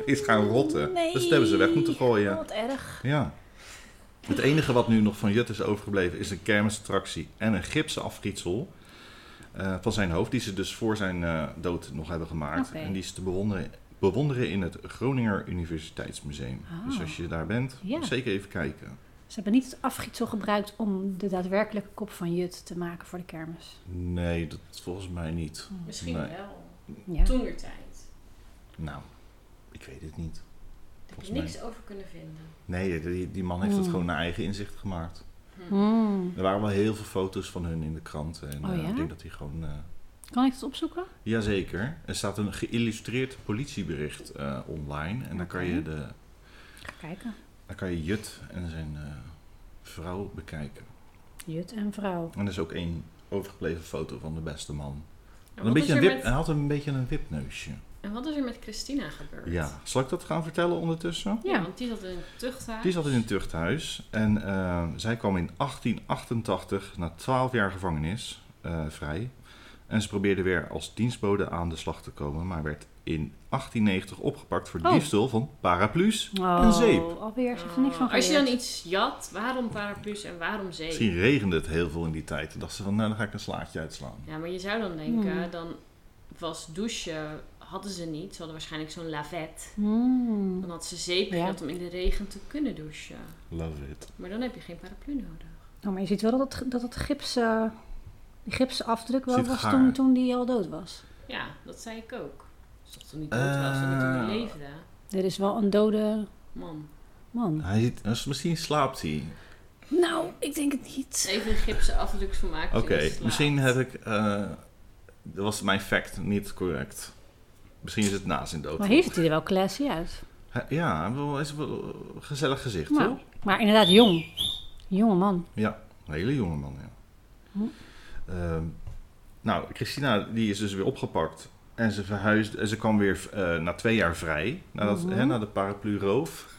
Speaker 1: is gaan rotten.
Speaker 3: Oh. nee.
Speaker 1: Dus dat hebben ze weg moeten gooien.
Speaker 3: Wat erg.
Speaker 1: Ja. Het enige wat nu nog van Jut is overgebleven is een kermisattractie en een gipsen afgietsel eh, van zijn hoofd, die ze dus voor zijn eh, dood nog hebben gemaakt.
Speaker 3: Oké.
Speaker 1: En die is te bewonderen, bewonderen in het Groninger Universiteitsmuseum.
Speaker 3: Ah.
Speaker 1: Dus als je daar bent,
Speaker 3: Ja.
Speaker 1: zeker even kijken.
Speaker 3: Ze hebben niet het afgietsel gebruikt om de daadwerkelijke kop van Jut te maken voor de kermis.
Speaker 1: Nee, dat volgens mij niet.
Speaker 4: Misschien
Speaker 1: Nee.
Speaker 4: wel.
Speaker 3: Ja.
Speaker 4: Toen weer tijd.
Speaker 1: Nou, ik weet het niet.
Speaker 4: Daar heb
Speaker 1: Volgens
Speaker 4: je niks over kunnen vinden.
Speaker 1: Nee, die, die man heeft het
Speaker 3: Hmm.
Speaker 1: gewoon naar eigen inzicht gemaakt.
Speaker 3: Hmm.
Speaker 1: Er waren wel heel veel foto's van hun in de krant. En
Speaker 3: Oh
Speaker 1: eh,
Speaker 3: ja?
Speaker 1: ik denk dat hij gewoon eh,
Speaker 3: Kan ik dat opzoeken?
Speaker 1: Jazeker. Er staat een geïllustreerd politiebericht eh, online. En dan kan je, de,
Speaker 3: Ga kijken.
Speaker 1: dan kan je Jut en zijn eh, vrouw bekijken.
Speaker 3: Jut en vrouw.
Speaker 1: En er is ook één overgebleven foto van de beste man.
Speaker 4: En
Speaker 1: Een
Speaker 4: wat, is
Speaker 1: beetje
Speaker 4: er
Speaker 1: een wip,
Speaker 4: met,
Speaker 1: Hij had een beetje een wipneusje.
Speaker 4: en wat is er met Christina gebeurd?
Speaker 1: Ja. Zal ik dat gaan vertellen ondertussen?
Speaker 4: Ja,
Speaker 3: Ja.
Speaker 4: want die zat in een tuchthuis.
Speaker 1: Die zat in een tuchthuis en eh, zij kwam in 1888 na 12 jaar gevangenis eh, vrij. En ze probeerde weer als dienstbode aan de slag te komen, maar werd in 1890 opgepakt voor
Speaker 3: Oh.
Speaker 1: diefstal van paraplu's
Speaker 3: Oh,
Speaker 1: en zeep.
Speaker 3: Alweer, ze heeft er
Speaker 4: Oh,
Speaker 3: niks van
Speaker 4: Als je
Speaker 3: geleerd.
Speaker 4: dan iets jat, waarom paraplu's en waarom zee?
Speaker 1: Misschien regende het heel veel in die tijd. Toen dacht ze van, nou dan ga ik een slaatje uitslaan.
Speaker 4: Ja, maar je zou dan denken,
Speaker 3: Hmm.
Speaker 4: dan was douchen, hadden ze niet. Ze hadden waarschijnlijk zo'n lavet.
Speaker 3: Hmm.
Speaker 4: Dan had ze zeep
Speaker 3: Ja.
Speaker 4: gehad om in de regen te kunnen douchen.
Speaker 1: Love it.
Speaker 4: Maar dan heb je geen paraplu nodig.
Speaker 3: Oh, maar je ziet wel dat het, dat het gips, eh, die gipsen afdruk wel
Speaker 1: Zit
Speaker 3: was
Speaker 1: gaar.
Speaker 3: toen, toen die al dood was.
Speaker 4: Ja, dat zei ik ook. Dus dat toen niet dood was, dat toen
Speaker 1: Eh.
Speaker 4: niet leefde.
Speaker 3: Dit is wel een dode
Speaker 4: Man,
Speaker 3: man.
Speaker 1: Hij zit, dus misschien slaapt hij.
Speaker 3: Nou, ik denk het niet.
Speaker 4: even een gipsen afdruk van maken.
Speaker 1: Oké,
Speaker 4: zodat het slaat.
Speaker 1: misschien heb ik... eh, dat was mijn fact niet correct. Misschien is het na zijn dood.
Speaker 3: Maar hier ziet hij er wel classy uit.
Speaker 1: Hij- Ja, wel is wel een gezellig gezicht,
Speaker 3: Nou,
Speaker 1: toch?
Speaker 3: maar inderdaad, jong. Jonge man.
Speaker 1: Ja, een hele jonge man, ja.
Speaker 3: Hm.
Speaker 1: Ehm, nou, Christina die is dus weer opgepakt. En ze verhuisde, en ze kwam weer eh, na twee jaar vrij. Nadat,
Speaker 3: Mhm.
Speaker 1: hè, na de paraplu-roof.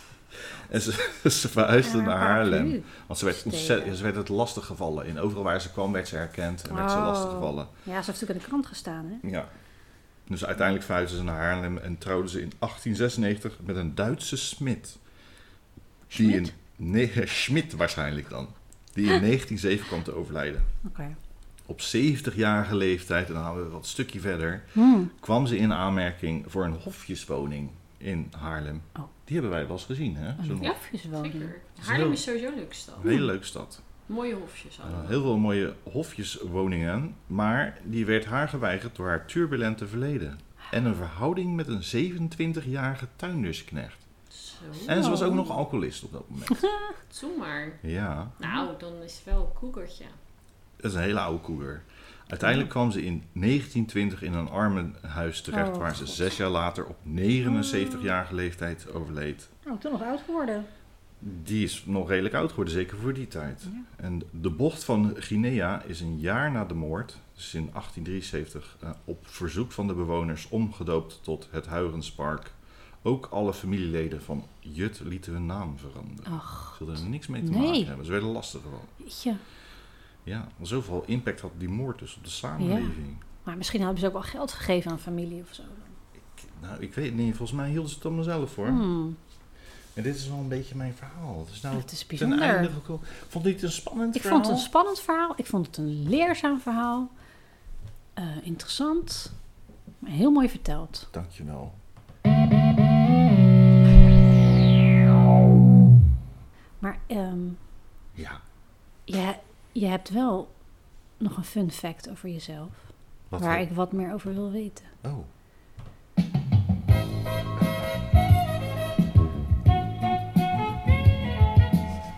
Speaker 1: en ze, ze verhuisde naar Haarlem. Want ze werd,
Speaker 3: Stelen.
Speaker 1: ontzettend, ze werd het lastig gevallen. In overal waar ze kwam werd ze herkend en werd ze
Speaker 3: Oh.
Speaker 1: lastig gevallen.
Speaker 3: Ja, ze heeft natuurlijk in de krant gestaan, hè?
Speaker 1: Ja. Dus uiteindelijk verhuisde ze naar Haarlem en trouwde ze in 1896 met een Duitse smid. Die in,
Speaker 3: Schmid?
Speaker 1: nee, Schmid waarschijnlijk dan. Die in 1907 kwam te overlijden.
Speaker 3: Oké.
Speaker 1: Op 70-jarige leeftijd, en dan gaan we wat stukje verder,
Speaker 3: Hmm.
Speaker 1: kwam ze in aanmerking voor een hofjeswoning in Haarlem.
Speaker 3: Oh.
Speaker 1: Die hebben wij wel eens gezien, hè? Zo'n
Speaker 4: Ja,
Speaker 3: Of is wel die.
Speaker 4: zeker.
Speaker 1: is
Speaker 4: Haarlem
Speaker 1: heel-
Speaker 4: is sowieso een leuke stad.
Speaker 1: hele leuke stad.
Speaker 4: Mooie hofjes
Speaker 1: Uh,
Speaker 4: allemaal.
Speaker 1: heel veel mooie hofjeswoningen, maar die werd haar geweigerd door haar turbulente verleden. En een verhouding met een 27-jarige tuindersknecht.
Speaker 4: Zo,
Speaker 1: En ze was ook nog alcoholist op dat moment.
Speaker 4: zo maar.
Speaker 1: Ja,
Speaker 4: Nou, dan is het wel een koekertje.
Speaker 1: dat is een hele oude koer. Uiteindelijk kwam ze in 1920 in een armenhuis terecht,
Speaker 3: Oh,
Speaker 1: waar ze
Speaker 3: God.
Speaker 1: zes jaar later op 79-jarige leeftijd overleed.
Speaker 3: Oh, toen nog oud geworden.
Speaker 1: Die is nog redelijk oud geworden, zeker voor die tijd. En de bocht van Guinea is een jaar na de moord, dus in 1873, eh, op verzoek van de bewoners omgedoopt tot het Huigenspark. Ook alle familieleden van Jut lieten hun naam veranderen.
Speaker 3: Ach,
Speaker 1: Ze hadden er niks mee te
Speaker 3: Nee.
Speaker 1: maken hebben. Ze werden lastig gewoon.
Speaker 3: jeetje.
Speaker 1: Ja, zoveel impact had die moord dus op de samenleving.
Speaker 3: Maar misschien hebben ze ook wel geld gegeven aan familie of zo.
Speaker 1: Nou, ik weet het niet. Volgens mij hielden ze het om mezelf hoor.
Speaker 3: Hmm.
Speaker 1: En dit is wel een beetje mijn verhaal. Het is nou
Speaker 3: Het is
Speaker 1: ten
Speaker 3: bijzonder.
Speaker 1: einde gekomen. Vond ik het een spannend
Speaker 3: Ik
Speaker 1: verhaal?
Speaker 3: vond het een spannend verhaal. Ik vond het een leerzaam verhaal. Eh, interessant. Maar heel mooi verteld.
Speaker 1: Dankjewel.
Speaker 3: Maar ehm,
Speaker 1: Ja,
Speaker 3: je, je hebt wel nog een fun fact over jezelf.
Speaker 1: wat
Speaker 3: waar
Speaker 1: we-
Speaker 3: ik wat meer over wil weten.
Speaker 1: Oh.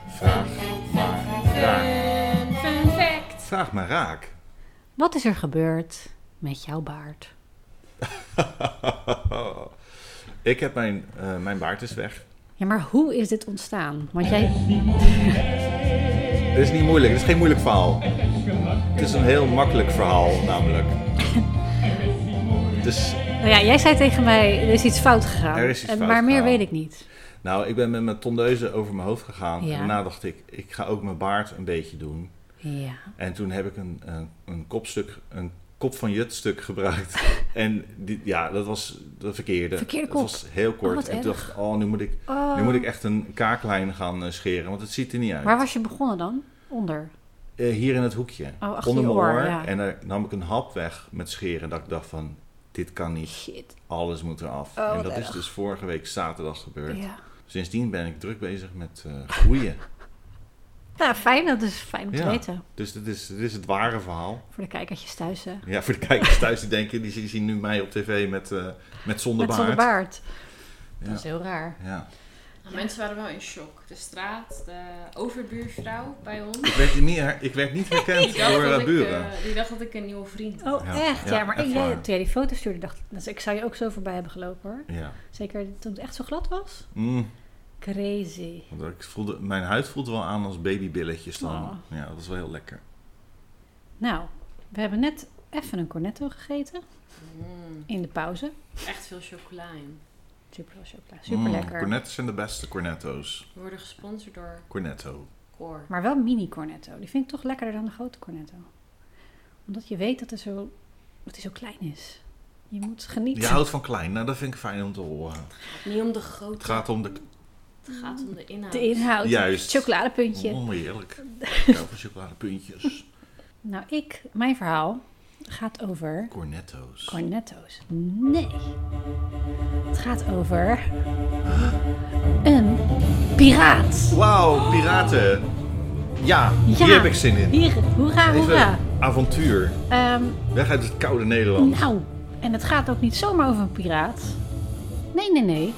Speaker 1: Vraag,
Speaker 4: Fun, fun fact.
Speaker 1: vraag maar raak.
Speaker 3: Wat is er gebeurd met jouw baard?
Speaker 1: ik heb mijn, eh, mijn baard is weg.
Speaker 3: Ja, maar hoe is dit ontstaan? Want jij...
Speaker 1: Dit is niet moeilijk, dit is geen moeilijk verhaal. Het is een heel makkelijk verhaal, namelijk. Dus,
Speaker 3: Nou ja, jij zei tegen mij, er is iets fout gegaan.
Speaker 1: Er is iets
Speaker 3: En-
Speaker 1: fout
Speaker 3: maar meer
Speaker 1: gegaan.
Speaker 3: weet ik niet.
Speaker 1: nou, ik ben met mijn tondeuze over mijn hoofd gegaan.
Speaker 3: Ja.
Speaker 1: En daarna dacht ik, ik ga ook mijn baard een beetje doen.
Speaker 3: Ja.
Speaker 1: En toen heb ik een, een, een kopstuk, een kop van Jut stuk gebruikt. en die, ja, dat was de verkeerde.
Speaker 3: Verkeerde
Speaker 1: Dat
Speaker 3: kop.
Speaker 1: was heel kort.
Speaker 3: Oh, wat
Speaker 1: en toen
Speaker 3: erg.
Speaker 1: dacht ik, oh, nu moet ik,
Speaker 3: Oh.
Speaker 1: nu moet ik echt een kaaklijn gaan eh, scheren, want het ziet er niet uit.
Speaker 3: Waar was je begonnen dan? Onder.
Speaker 1: Eh, hier in het hoekje,
Speaker 3: Oh, achter
Speaker 1: onder
Speaker 3: je
Speaker 1: mijn
Speaker 3: oor,
Speaker 1: oor.
Speaker 3: ja.
Speaker 1: En daar nam ik een hap weg met scheren, dat ik dacht van, dit kan niet.
Speaker 3: Shit.
Speaker 1: Alles moet eraf.
Speaker 3: Oh,
Speaker 1: en
Speaker 3: wat
Speaker 1: dat is
Speaker 3: erg.
Speaker 1: dus vorige week zaterdag gebeurd.
Speaker 3: Ja.
Speaker 1: Sindsdien ben ik druk bezig met eh, groeien.
Speaker 3: Nou, fijn. Dat is fijn om te
Speaker 1: Ja.
Speaker 3: weten.
Speaker 1: dus dit is, dit is het ware verhaal.
Speaker 3: Voor de kijkertjes thuis, hè.
Speaker 1: Ja, voor de kijkers thuis die denken, die zien- zien nu mij op tv met, eh met zonder
Speaker 3: Met zonder
Speaker 1: baard.
Speaker 3: baard.
Speaker 1: Ja.
Speaker 3: Dat is heel raar.
Speaker 1: Ja.
Speaker 4: Nou, Mensen waren wel in shock. De straat, de overbuurvrouw bij ons.
Speaker 1: Ik werd, niet, her- ik werd niet herkend door eh,
Speaker 4: dat ik,
Speaker 1: buren.
Speaker 4: eh, die dacht dat ik een nieuwe vriend had.
Speaker 3: Oh,
Speaker 1: Ja,
Speaker 3: echt? Ja,
Speaker 1: ja,
Speaker 3: maar
Speaker 1: echt
Speaker 3: ik, jij,
Speaker 1: waar.
Speaker 3: toen jij die foto stuurde, dacht ik, dus ik zou je ook zo voorbij hebben gelopen hoor.
Speaker 4: eh,
Speaker 1: Ja.
Speaker 3: Zeker toen het echt zo glad was.
Speaker 1: Mm,
Speaker 3: Crazy.
Speaker 1: want ik voelde, mijn huid voelde wel aan als babybilletjes dan.
Speaker 3: Oh.
Speaker 1: Ja, dat is wel heel lekker. Mm,
Speaker 3: Nou, we hebben net even een cornetto gegeten
Speaker 4: Mm,
Speaker 3: in de pauze.
Speaker 4: echt veel chocola in.
Speaker 3: Super, chocola. super lekker.
Speaker 1: Mm, cornetto's zijn de beste cornetto's.
Speaker 4: We worden gesponsord door
Speaker 1: Cornetto.
Speaker 4: Cor.
Speaker 3: Maar wel mini cornetto. Die vind ik toch lekkerder dan de grote cornetto. Omdat je weet dat, er zo, dat die zo klein is. Je moet genieten.
Speaker 1: Je houdt van klein, nou dat vind ik fijn om te horen.
Speaker 4: Niet om de
Speaker 1: Het
Speaker 4: grootte,
Speaker 1: gaat om de...
Speaker 4: het gaat om de inhoud.
Speaker 3: de inhoud.
Speaker 1: Juist. Oh.
Speaker 3: Chocoladepuntje.
Speaker 1: Oneerlijk. Ik hou van chocoladepuntjes.
Speaker 3: Nou, ik, mijn verhaal gaat over
Speaker 1: Cornetto's.
Speaker 3: cornetto's. Nee. Het gaat over een piraat.
Speaker 1: Wauw, piraten. Ja,
Speaker 3: Ja.
Speaker 1: hier heb ik zin in.
Speaker 3: Hier, hoera, hoera.
Speaker 1: Even avontuur.
Speaker 3: Ehm,
Speaker 1: Weg uit het koude Nederland.
Speaker 3: nou, en het gaat ook niet zomaar over een piraat. Nee, nee, nee.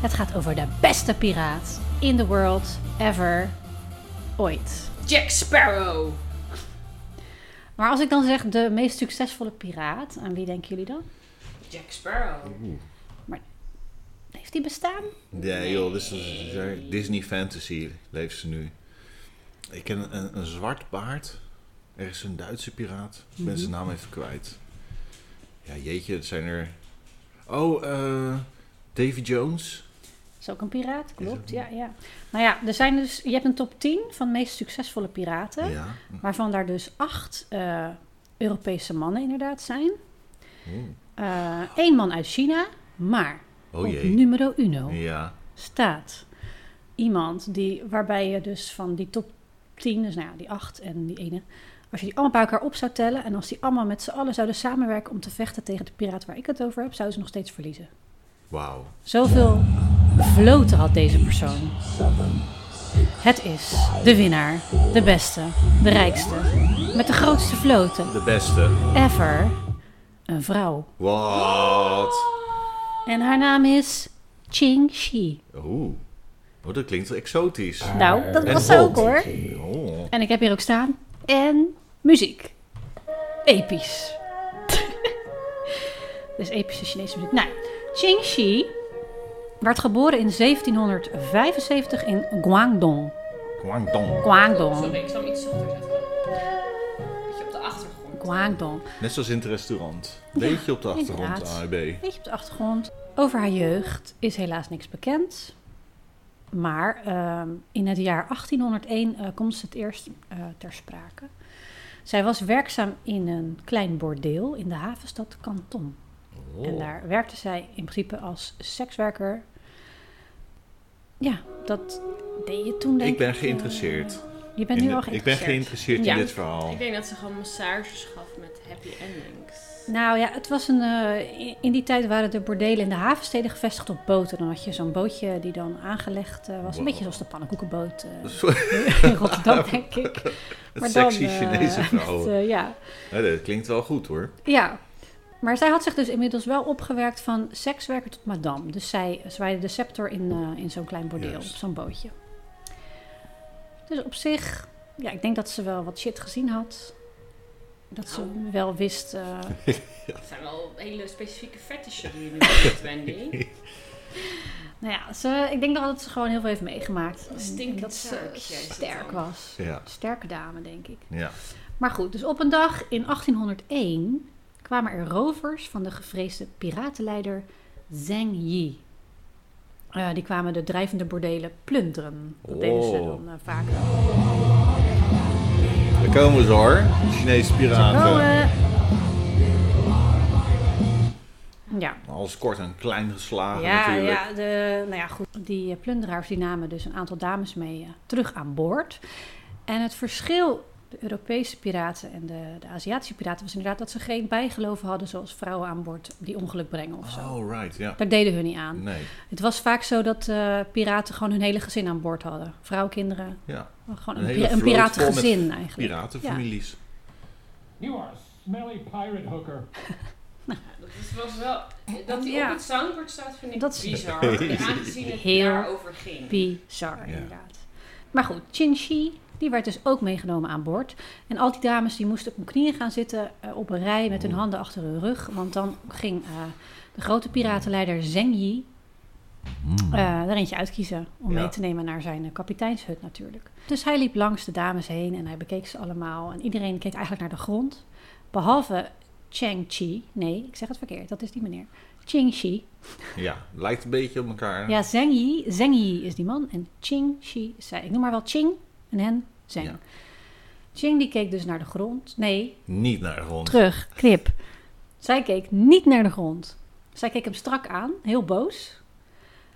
Speaker 3: Het gaat over de beste piraat in the world ever ooit.
Speaker 4: Jack Sparrow!
Speaker 3: Maar als ik dan zeg de meest succesvolle piraat, aan wie denken jullie dan?
Speaker 4: Jack Sparrow.
Speaker 3: Heeft die bestaan?
Speaker 1: Nee joh, dit is een- Disney fantasy leeft ze nu. Ik ken een, een zwart baard. Er is een Duitse piraat. Ik ben
Speaker 3: Mhm.
Speaker 1: zijn naam even kwijt. Ja, jeetje, het zijn er... Oh, eh... Davy Jones.
Speaker 3: Is ook een piraat, klopt.
Speaker 1: ook-
Speaker 3: Ja, ja. Nou ja, er zijn dus, je hebt een top 10 van de meest succesvolle piraten.
Speaker 1: Ja.
Speaker 3: Waarvan daar dus acht eh, Europese mannen inderdaad zijn. Eén man uit China, maar
Speaker 1: Oh
Speaker 3: op
Speaker 1: jee.
Speaker 3: numero uno
Speaker 1: Ja.
Speaker 3: staat iemand die, waarbij je dus van die top 10, dus nou ja, die acht en die ene, als je die allemaal bij elkaar op zou tellen en als die allemaal met z'n allen zouden samenwerken om te vechten tegen de piraat waar ik het over heb, zouden ze nog steeds verliezen.
Speaker 1: Wauw.
Speaker 3: Zoveel vloten had deze persoon. Het is de winnaar, de beste, de rijkste, met de grootste vloten
Speaker 1: De beste.
Speaker 3: ever een vrouw.
Speaker 1: Wat?
Speaker 3: En haar naam is Ching Shi.
Speaker 1: Oeh. Oh, dat klinkt wel exotisch.
Speaker 3: Nou, dat
Speaker 1: En
Speaker 3: was ze ook
Speaker 1: gold.
Speaker 3: hoor.
Speaker 1: Oh.
Speaker 3: En ik heb hier ook staan. En muziek. Episch. dus epische Chinese muziek. Nou, Ching Shi werd geboren in 1775 in Guangdong.
Speaker 1: Guangdong.
Speaker 3: Guangdong.
Speaker 4: Sorry, ik zal hem iets zachter zetten. Beetje op de achtergrond.
Speaker 3: Guangdong.
Speaker 1: Net zoals in het restaurant. Beetje op de achtergrond,
Speaker 3: inderdaad.
Speaker 1: AIB.
Speaker 3: beetje op de achtergrond. Over haar jeugd is helaas niks bekend. Maar ehm, in het jaar 1801 eh, komt ze het eerst eh, ter sprake. Zij was werkzaam in een klein bordeel in de havenstad Canton.
Speaker 1: Oh.
Speaker 3: En daar werkte zij in principe als sekswerker. Ja, dat deed je toen denk
Speaker 1: Ik
Speaker 3: ik. eh,
Speaker 1: ben geïnteresseerd.
Speaker 3: Je bent
Speaker 1: In
Speaker 3: nu al
Speaker 1: de- ik ben
Speaker 3: geïnteresseerd.
Speaker 1: geïnteresseerd
Speaker 3: Ja.
Speaker 1: in dit verhaal.
Speaker 4: Ik denk dat ze gewoon massages gaf met happy endings.
Speaker 3: Nou ja, het was een. eh, in- in die tijd waren de bordelen in de havensteden gevestigd op boten. Dan had je zo'n bootje die dan aangelegd eh, was. Een
Speaker 1: Wow.
Speaker 3: beetje zoals de pannenkoekenboot eh,
Speaker 1: Het
Speaker 3: in Rotterdam, denk ik. Maar dan,
Speaker 1: sexy
Speaker 3: eh,
Speaker 1: Chinese verhaal.
Speaker 3: echt, eh, ja.
Speaker 1: Ja, dat klinkt wel goed hoor.
Speaker 3: ja. Maar zij had zich dus inmiddels wel opgewerkt van sekswerker tot madame. Dus zij zwaaide de scepter in, eh, in zo'n klein bordeel,
Speaker 1: Juist.
Speaker 3: op zo'n bootje. Dus op zich, ja, ik denk dat ze wel wat shit gezien had. Dat ze
Speaker 4: Oh.
Speaker 3: wel wist. eh,
Speaker 4: Dat zijn wel hele specifieke fetishen die je nu hebt, Wendy.
Speaker 3: Nou ja, ze, ik denk wel dat ze gewoon heel veel heeft meegemaakt. En-
Speaker 4: stinkend
Speaker 3: en dat ze
Speaker 4: zaakje is het
Speaker 3: sterk
Speaker 4: dan.
Speaker 3: was.
Speaker 1: Ja.
Speaker 3: Sterke dame, denk ik.
Speaker 1: Ja.
Speaker 3: Maar goed, dus op een dag in 1801 kwamen er rovers van de gevreesde piratenleider Zheng Yi. Eh, die kwamen de drijvende bordelen plunderen. Dat deden ze
Speaker 1: Oh.
Speaker 3: dan eh, vaak.
Speaker 1: Daar komen ze hoor. De Chinese
Speaker 3: Oh,
Speaker 1: piraten.
Speaker 3: eh. Ja,
Speaker 1: Alles kort en klein geslagen
Speaker 3: Ja,
Speaker 1: natuurlijk.
Speaker 3: ja, de, nou ja, goed. Die eh, plunderaars die namen dus een aantal dames mee eh, terug aan boord. En het verschil, de Europese piraten en de, de Aziatische piraten, was inderdaad dat ze geen bijgeloven hadden, zoals vrouwen aan boord die ongeluk brengen of zo.
Speaker 1: Oh, right. Ja.
Speaker 3: Daar deden hun niet aan.
Speaker 1: Nee.
Speaker 3: Het was vaak zo dat eh, piraten gewoon hun hele gezin aan boord hadden. Vrouwen, kinderen,
Speaker 1: Ja.
Speaker 3: gewoon
Speaker 1: Een
Speaker 3: een,
Speaker 1: hele
Speaker 3: pira- een
Speaker 1: vloot vol met
Speaker 3: piratengezin eigenlijk. Ja.
Speaker 1: Piratenfamilies.
Speaker 5: You are a smelly pirate hooker.
Speaker 4: dat is- was wel... Dat die
Speaker 3: Ja.
Speaker 4: op het soundboard staat vind ik
Speaker 3: Dat is-
Speaker 4: bizar. Aangezien het
Speaker 3: Heel
Speaker 4: daarover ging.
Speaker 3: Bizar,
Speaker 1: Ja.
Speaker 3: inderdaad. Maar goed, Chin Shi, die werd dus ook meegenomen aan boord. En al die dames die moesten op hun knieën gaan zitten eh, op een rij met hun
Speaker 1: Oh.
Speaker 3: handen achter hun rug. Want dan ging eh, de grote piratenleider Zeng Yi eh, er eentje uitkiezen om
Speaker 1: Mm. Ja.
Speaker 3: mee te nemen naar zijn eh, kapiteinshut natuurlijk. Dus hij liep langs de dames heen en hij bekeek ze allemaal. En iedereen keek eigenlijk naar de grond. Behalve Chang Chi. Nee, ik zeg het verkeerd. Dat is die meneer. Ching Shi.
Speaker 1: Ja, lijkt een beetje op elkaar.
Speaker 3: Ja, Zeng Yi, Zeng Yi is die man en Ching Shi is zij. Ik noem maar wel Ching en hen Zeng.
Speaker 1: Ja.
Speaker 3: Ching die keek dus naar de grond. Nee,
Speaker 1: Niet naar de grond.
Speaker 3: terug, knip. Zij keek niet naar de grond. Zij keek hem strak aan, heel boos.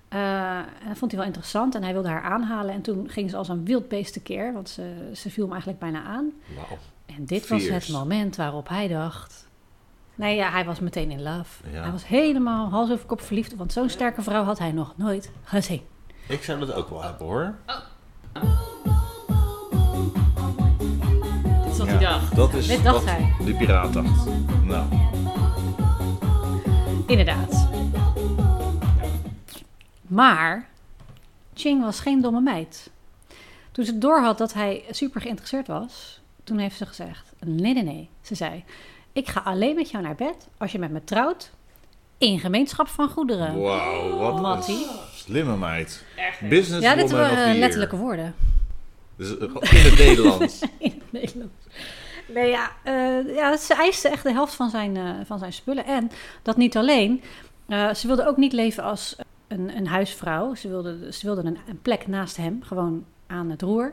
Speaker 3: Eh, en dat vond hij wel interessant en hij wilde haar aanhalen. En toen ging ze als een wild beest tekeer, want ze, ze viel hem eigenlijk bijna aan.
Speaker 1: Wauw.
Speaker 3: En dit was
Speaker 1: Fierce.
Speaker 3: het moment waarop hij dacht... Nee, ja, hij was meteen in love.
Speaker 1: Ja.
Speaker 3: Hij was helemaal hals over kop verliefd, want zo'n sterke vrouw had hij nog nooit gezien.
Speaker 1: Ik zou dat ook wel hebben hoor.
Speaker 4: Dit is wat hij dacht.
Speaker 1: dat is
Speaker 3: Dit dacht
Speaker 1: wat
Speaker 3: hij.
Speaker 1: de piraat dacht. Nou,
Speaker 3: Inderdaad. Maar Ching was geen domme meid. Toen ze doorhad dat hij super geïnteresseerd was, toen heeft ze gezegd: Nee, nee, nee. Ze zei: Ik ga alleen met jou naar bed als je met me trouwt in gemeenschap van goederen.
Speaker 1: wauw, wat
Speaker 3: Eh, Mattie.
Speaker 1: een slimme meid.
Speaker 4: Echt.
Speaker 1: Business
Speaker 3: Ja, dit eh,
Speaker 1: woman of the
Speaker 3: waren
Speaker 1: year.
Speaker 3: letterlijke woorden.
Speaker 1: Dus, eh, in het Nederlands.
Speaker 3: in het Nederlands. Nee, ja, eh, ja, ze eiste echt de helft van zijn, eh, van zijn spullen. En dat niet alleen. Eh, ze wilde ook niet leven als een, een huisvrouw. Ze wilde, ze wilde een, een plek naast hem, gewoon aan het roer.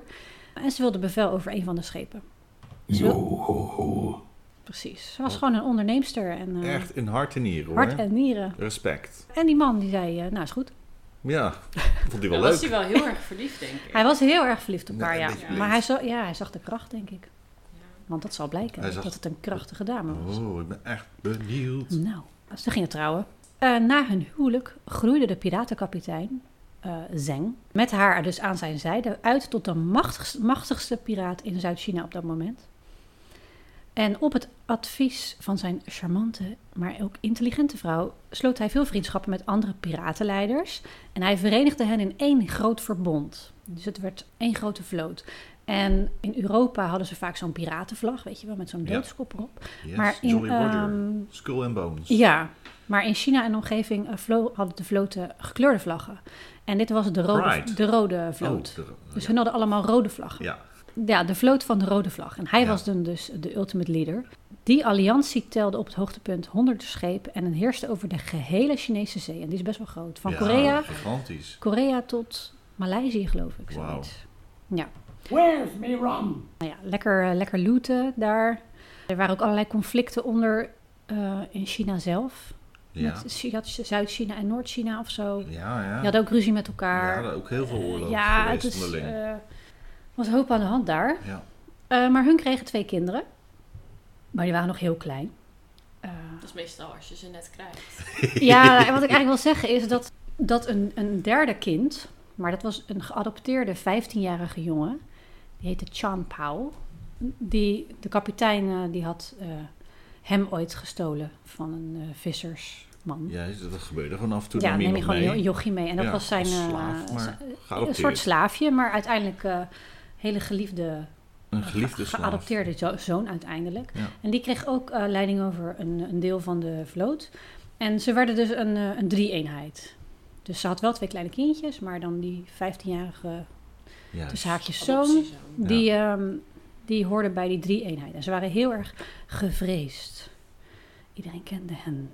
Speaker 3: En ze wilde bevel over een van de schepen. Ze wil- Precies. Ze was gewoon een onderneemster en eh,
Speaker 1: Oh. Echt in hart en nieren hoor.
Speaker 3: hart en nieren.
Speaker 1: Respect.
Speaker 3: En die man die zei, eh, nou is goed.
Speaker 1: Ja, vond hij wel
Speaker 4: Dan
Speaker 1: leuk.
Speaker 4: was hij wel heel erg verliefd, denk ik.
Speaker 3: Hij was heel erg verliefd op
Speaker 1: Ja,
Speaker 3: haar,
Speaker 1: een
Speaker 3: ja.
Speaker 1: beetje blind.
Speaker 3: Maar hij, zo, ja, hij zag de kracht, denk ik. Want dat zal blijken,
Speaker 1: Hij zag-
Speaker 3: dat het een krachtige dame was.
Speaker 1: Oh, ik ben echt benieuwd.
Speaker 3: Nou, ze gingen trouwen. Eh, na hun huwelijk groeide de piratenkapitein eh, Zeng met haar dus aan zijn zijde uit tot de machtigste, machtigste piraat in Zuid-China op dat moment. En op het advies van zijn charmante, maar ook intelligente vrouw, sloot hij veel vriendschappen met andere piratenleiders. En hij verenigde hen in één groot verbond. Dus het werd één grote vloot. En in Europa hadden ze vaak zo'n piratenvlag, weet je wel, met zo'n
Speaker 1: Ja.
Speaker 3: doodskop erop.
Speaker 1: Yes,
Speaker 3: maar in,
Speaker 1: Jolly Roger.
Speaker 3: ehm,
Speaker 1: Skull and Bones.
Speaker 3: ja, maar in China en omgeving eh, vlo- hadden de vloten gekleurde vlaggen. En dit was de rode,
Speaker 1: Pride.
Speaker 3: de rode
Speaker 1: Oh,
Speaker 3: vloot.
Speaker 1: de-
Speaker 3: dus hun hadden allemaal rode vlaggen. Ja.
Speaker 1: ja.
Speaker 3: de vloot van de rode vlag. En hij
Speaker 1: Ja.
Speaker 3: was dan dus de ultimate leader. Die alliantie telde op het hoogtepunt honderden schepen en heerste over de gehele Chinese zee. En die is best wel groot. Van
Speaker 1: Ja,
Speaker 3: Korea,
Speaker 1: Gigantisch.
Speaker 3: Korea tot Maleisië, geloof ik.
Speaker 1: Wauw.
Speaker 3: Zoiets. Ja.
Speaker 5: Where's me rum?
Speaker 3: Nou ja, lekker, eh, lekker looten daar. Er waren ook allerlei conflicten onder eh, in China zelf.
Speaker 1: Ja.
Speaker 3: Met Chi- had Zuid-China en Noord-China of zo.
Speaker 1: Ja, ja.
Speaker 3: Je had ook ruzie met
Speaker 1: Ja,
Speaker 3: elkaar.
Speaker 1: er ook heel veel oorlog
Speaker 3: eh, ja,
Speaker 1: geweest
Speaker 3: het is,
Speaker 1: onderling.
Speaker 3: eh, was een hoop aan de hand daar.
Speaker 1: ja.
Speaker 3: Eh, maar hun kregen twee kinderen. Maar die waren nog heel klein. Eh,
Speaker 4: Dat is meestal als je ze net krijgt.
Speaker 3: ja, en wat ik eigenlijk wil zeggen is dat, dat een, een derde kind... maar dat was een geadopteerde 15-jarige jongen... die heette Chan Pao. Die, de kapitein eh, die had eh, hem ooit gestolen van een eh, vissersman.
Speaker 1: ja, dat gebeurde gewoon af en toe.
Speaker 3: Ja,
Speaker 1: nam
Speaker 3: neem je
Speaker 1: iemand
Speaker 3: gewoon een
Speaker 1: mee.
Speaker 3: jochie mee. En dat
Speaker 1: Ja,
Speaker 3: was zijn...
Speaker 1: als
Speaker 3: eh,
Speaker 1: slaaf, maar
Speaker 3: zijn- een
Speaker 1: geadopteerd.
Speaker 3: soort slaafje, maar uiteindelijk eh, hele geliefde,
Speaker 1: Een geliefde slaaf.
Speaker 3: geadopteerde zo- zoon uiteindelijk.
Speaker 1: Ja.
Speaker 3: En die kreeg ook eh, leiding over een, een deel van de vloot. En ze werden dus een, eh, een drie-eenheid. Dus ze had wel twee kleine kindjes, maar dan die 15-jarige
Speaker 1: Ja.
Speaker 3: tussen haakjes zoon,
Speaker 4: Adoptiezoon.
Speaker 3: die, ehm, die hoorde bij die drie-eenheid. En ze waren heel erg gevreesd. Iedereen kende hen.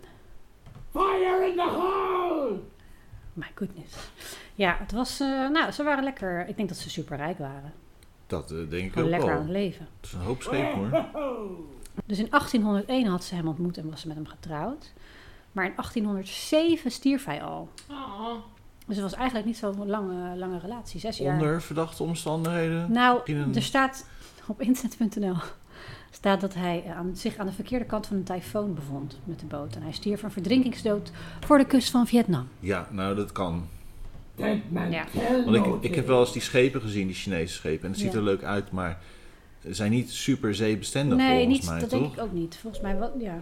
Speaker 5: Fire in the hole!
Speaker 3: My goodness. Ja, het was, eh, nou, ze waren lekker. Ik denk dat ze superrijk waren.
Speaker 1: Dat eh, denk ik
Speaker 3: Gewoon
Speaker 1: ook
Speaker 3: lekker
Speaker 1: wel.
Speaker 3: aan het leven.
Speaker 1: Het is een hoop scheep hoor.
Speaker 3: Dus in 1801 had ze hem ontmoet en was ze met hem getrouwd. Maar in 1807 stierf hij al.
Speaker 4: Oh,
Speaker 3: Dus het was eigenlijk niet zo'n lange, lange relatie, zes jaar.
Speaker 1: Onder verdachte omstandigheden.
Speaker 3: Nou,
Speaker 1: in een-
Speaker 3: er staat op internet.nl staat dat hij eh, aan, zich aan de verkeerde kant van een tyfoon bevond met de boot. En hij stierf een verdrinkingsdood voor de kust van Vietnam.
Speaker 1: Ja, nou dat kan.
Speaker 5: Dead man
Speaker 3: Ja.
Speaker 5: tell
Speaker 1: Want
Speaker 5: no
Speaker 1: ik, ik heb wel eens die schepen gezien, die Chinese schepen. En het ziet
Speaker 3: Oh, Ja.
Speaker 1: er leuk uit, maar ze zijn niet super zeebestendig
Speaker 3: nee,
Speaker 1: Nou, volgens
Speaker 3: niet,
Speaker 1: mij,
Speaker 3: dat
Speaker 1: toch?
Speaker 3: denk ik ook niet. Volgens mij, wel, ja.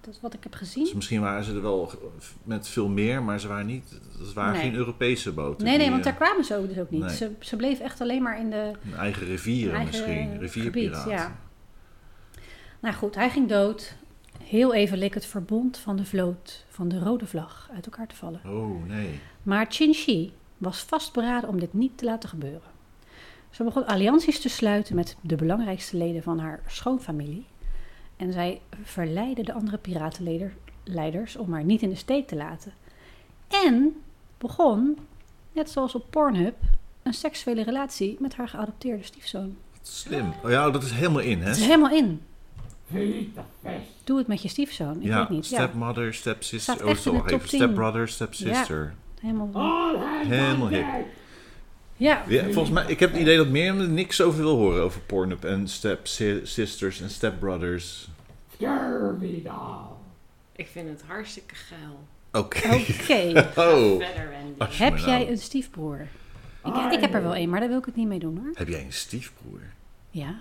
Speaker 3: Dat is wat ik heb
Speaker 1: Dus
Speaker 3: gezien.
Speaker 1: misschien waren ze er wel g- met veel meer, maar ze waren niet. Het waren
Speaker 3: Nee.
Speaker 1: geen Europese boten.
Speaker 3: Nee, nee,
Speaker 1: die,
Speaker 3: want daar
Speaker 1: eh,
Speaker 3: kwamen ze ook dus ook niet.
Speaker 1: nee.
Speaker 3: Ze, ze bleef echt alleen maar in de
Speaker 1: hun eigen rivieren
Speaker 3: eigen eh,
Speaker 1: misschien. Rivierpiraten.
Speaker 3: gebied, ja. Nou goed, hij ging dood. Heel even leek het verbond van de vloot van de rode vlag uit elkaar te vallen.
Speaker 1: Oh nee.
Speaker 3: Maar Qin Shi was vastberaden om dit niet te laten gebeuren. Ze begon allianties te sluiten met de belangrijkste leden van haar schoonfamilie. En zij verleidde de andere piratenleiders om haar niet in de steek te laten. En begon, net zoals op Pornhub, een seksuele relatie met haar geadopteerde stiefzoon.
Speaker 1: Wat Slim. Oh ja, dat is helemaal in, hè?
Speaker 3: Het is helemaal in.
Speaker 5: Hete vest.
Speaker 3: Doe het met je stiefzoon. Ik
Speaker 1: ja,
Speaker 3: weet niet. Ja,
Speaker 1: stepmother,
Speaker 3: Staat
Speaker 1: stepsister.
Speaker 3: echt in de
Speaker 1: wacht
Speaker 3: top
Speaker 1: even.
Speaker 3: 10.
Speaker 1: Stepbrother, stepsister.
Speaker 3: helemaal.
Speaker 5: Al hij
Speaker 1: Helemaal
Speaker 5: dat
Speaker 1: hip.
Speaker 5: deed.
Speaker 3: Ja,
Speaker 1: Ja. volgens mij, ik heb het idee dat Mirjam er niks over wil horen over Pornhub en stepsisters en stepbrothers.
Speaker 5: Terminaal.
Speaker 4: Ik vind het hartstikke geil.
Speaker 1: Oké.
Speaker 3: oké.
Speaker 1: Oh.
Speaker 4: Verder, Wendy.
Speaker 3: Heb jij een stiefbroer? Ik, ik heb er wel één, maar daar wil ik het niet mee doen hoor.
Speaker 1: Heb jij een stiefbroer?
Speaker 3: Ja.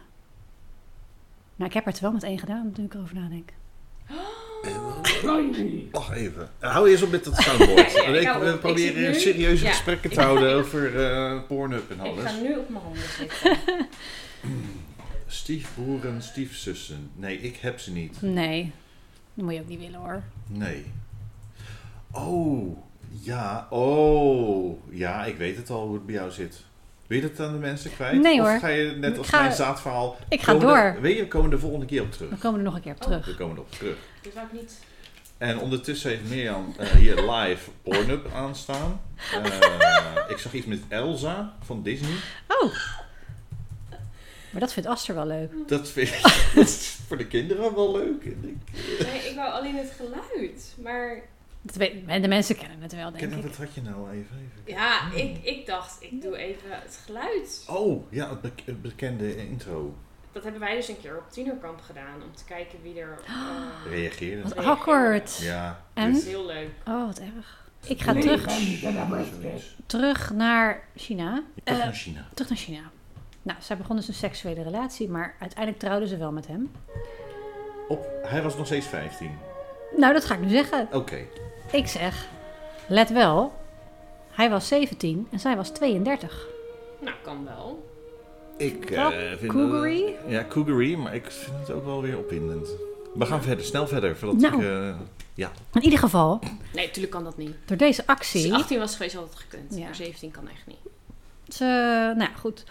Speaker 3: Nou, ik heb er het wel met één gedaan, toen ik erover nadenk.
Speaker 4: Oh.
Speaker 5: Tiny.
Speaker 1: Wacht even. Hou eerst op met dat soundboard.
Speaker 4: Ja, ja,
Speaker 1: ik,
Speaker 4: ik hou
Speaker 1: we
Speaker 4: op. Ik
Speaker 1: proberen
Speaker 4: zit nu-
Speaker 1: serieuze
Speaker 4: Ja.
Speaker 1: gesprekken te houden over eh Pornhub en
Speaker 4: Ik
Speaker 1: alles.
Speaker 4: ga nu op mijn handen zitten.
Speaker 1: Stiefbroeren, stiefzussen. Nee, ik heb ze niet.
Speaker 3: Nee. Dat moet je ook niet willen hoor.
Speaker 1: Nee. Oh, ja. Oh, ja, ik weet het al hoe het bij jou zit. Wil je dat aan de mensen kwijt?
Speaker 3: Nee,
Speaker 1: Of
Speaker 3: hoor.
Speaker 1: ga je net
Speaker 3: Ik
Speaker 1: als
Speaker 3: ga-
Speaker 1: mijn zaadverhaal...
Speaker 3: Ik ga
Speaker 1: komen we-
Speaker 3: door.
Speaker 1: Weet je, we komen de volgende keer op terug.
Speaker 3: We komen er nog een keer op
Speaker 1: We
Speaker 3: terug.
Speaker 1: komen erop terug.
Speaker 4: Dus wou ik niet.
Speaker 1: En ondertussen heeft Mirjam eh, hier live Pornhub aanstaan. Eh, ik zag iets met Elsa van Disney.
Speaker 3: Oh! Maar dat vindt Aster wel leuk.
Speaker 1: Dat vind ik dat is voor de kinderen wel leuk. Ik
Speaker 4: Nee, ik wou alleen het geluid. Maar
Speaker 3: Dat weet, en de mensen kennen het wel, denk
Speaker 1: ken-
Speaker 3: ik.
Speaker 1: Wat had je nou even? even.
Speaker 4: ja, ik, ik dacht, ik doe even het geluid.
Speaker 1: Oh, ja, het bek- het bekende intro.
Speaker 4: Dat hebben wij dus een keer op tienerkamp gedaan. Om te kijken wie er... eh,
Speaker 1: Reageren.
Speaker 3: Wat awkward.
Speaker 1: Ja.
Speaker 3: En?
Speaker 4: dat
Speaker 1: dus-
Speaker 4: is heel leuk.
Speaker 3: Oh, wat erg. Ik ga terug,
Speaker 1: Zoiets.
Speaker 3: terug naar China.
Speaker 1: Je kan
Speaker 3: Eh,
Speaker 1: naar China.
Speaker 3: Terug naar China. Nou, zij begon dus een seksuele relatie, maar uiteindelijk trouwden ze wel met hem.
Speaker 1: Op, hij was nog steeds 15.
Speaker 3: Nou, dat ga ik nu zeggen.
Speaker 1: Oké.
Speaker 3: Ik zeg, let wel, hij was 17 en zij was 32.
Speaker 4: Nou, kan wel.
Speaker 1: Ik
Speaker 3: Wel,
Speaker 1: eh, vind
Speaker 3: Cougary?
Speaker 1: dat- ja, Cougary, maar ik vind het ook wel weer opwindend. We gaan verder, snel verder. Voordat
Speaker 3: Nou.
Speaker 1: ik, eh, ja.
Speaker 3: In ieder geval,
Speaker 4: Nee, natuurlijk kan dat niet.
Speaker 3: door deze
Speaker 4: Als je
Speaker 3: actie.
Speaker 4: 18 was geweest, had het gekund.
Speaker 3: Ja.
Speaker 4: Maar 17 kan echt niet.
Speaker 3: Ze, nou ja, goed.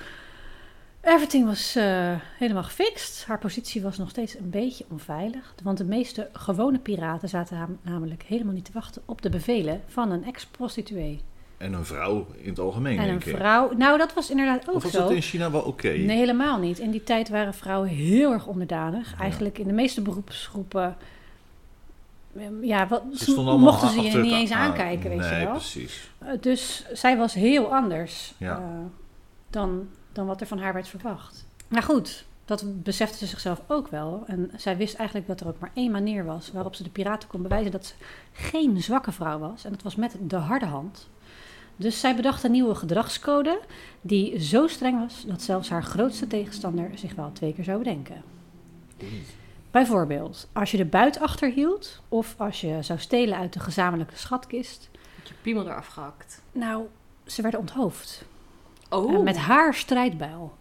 Speaker 3: Everything was eh, helemaal gefixt. Haar positie was nog steeds een beetje onveilig. Want de meeste gewone piraten zaten haar namelijk helemaal niet te wachten op de bevelen van een ex-prostituee.
Speaker 1: En een vrouw in het algemeen,
Speaker 3: En een
Speaker 1: denk ik.
Speaker 3: vrouw. Nou, dat was inderdaad ook
Speaker 1: Of was
Speaker 3: zo.
Speaker 1: dat in China wel oké?
Speaker 3: Nee, helemaal niet. In die tijd waren vrouwen heel erg onderdanig. Eigenlijk in de meeste beroepsgroepen. ehm, Ja, wat,
Speaker 1: Ze
Speaker 3: ze
Speaker 1: stonden allemaal
Speaker 3: mochten ze je
Speaker 1: achter het
Speaker 3: niet eens
Speaker 1: aan-
Speaker 3: aankijken, weet
Speaker 1: nee,
Speaker 3: je wel.
Speaker 1: precies.
Speaker 3: Eh, Dus zij was heel anders
Speaker 1: Ja.
Speaker 3: eh, dan, dan wat er van haar werd verwacht. Maar goed, dat besefte ze zichzelf ook wel. En zij wist eigenlijk dat er ook maar één manier was waarop ze de piraten kon bewijzen dat ze geen zwakke vrouw was. En dat was met de harde hand. Dus zij bedacht een nieuwe gedragscode die zo streng was dat zelfs haar grootste tegenstander zich wel twee keer zou bedenken. Bijvoorbeeld, als je de buit achterhield of als je zou stelen uit de gezamenlijke schatkist,
Speaker 4: Had je piemel eraf gehakt.
Speaker 3: nou, ze werden onthoofd.
Speaker 4: Oh.
Speaker 3: En Eh, met haar strijdbijl.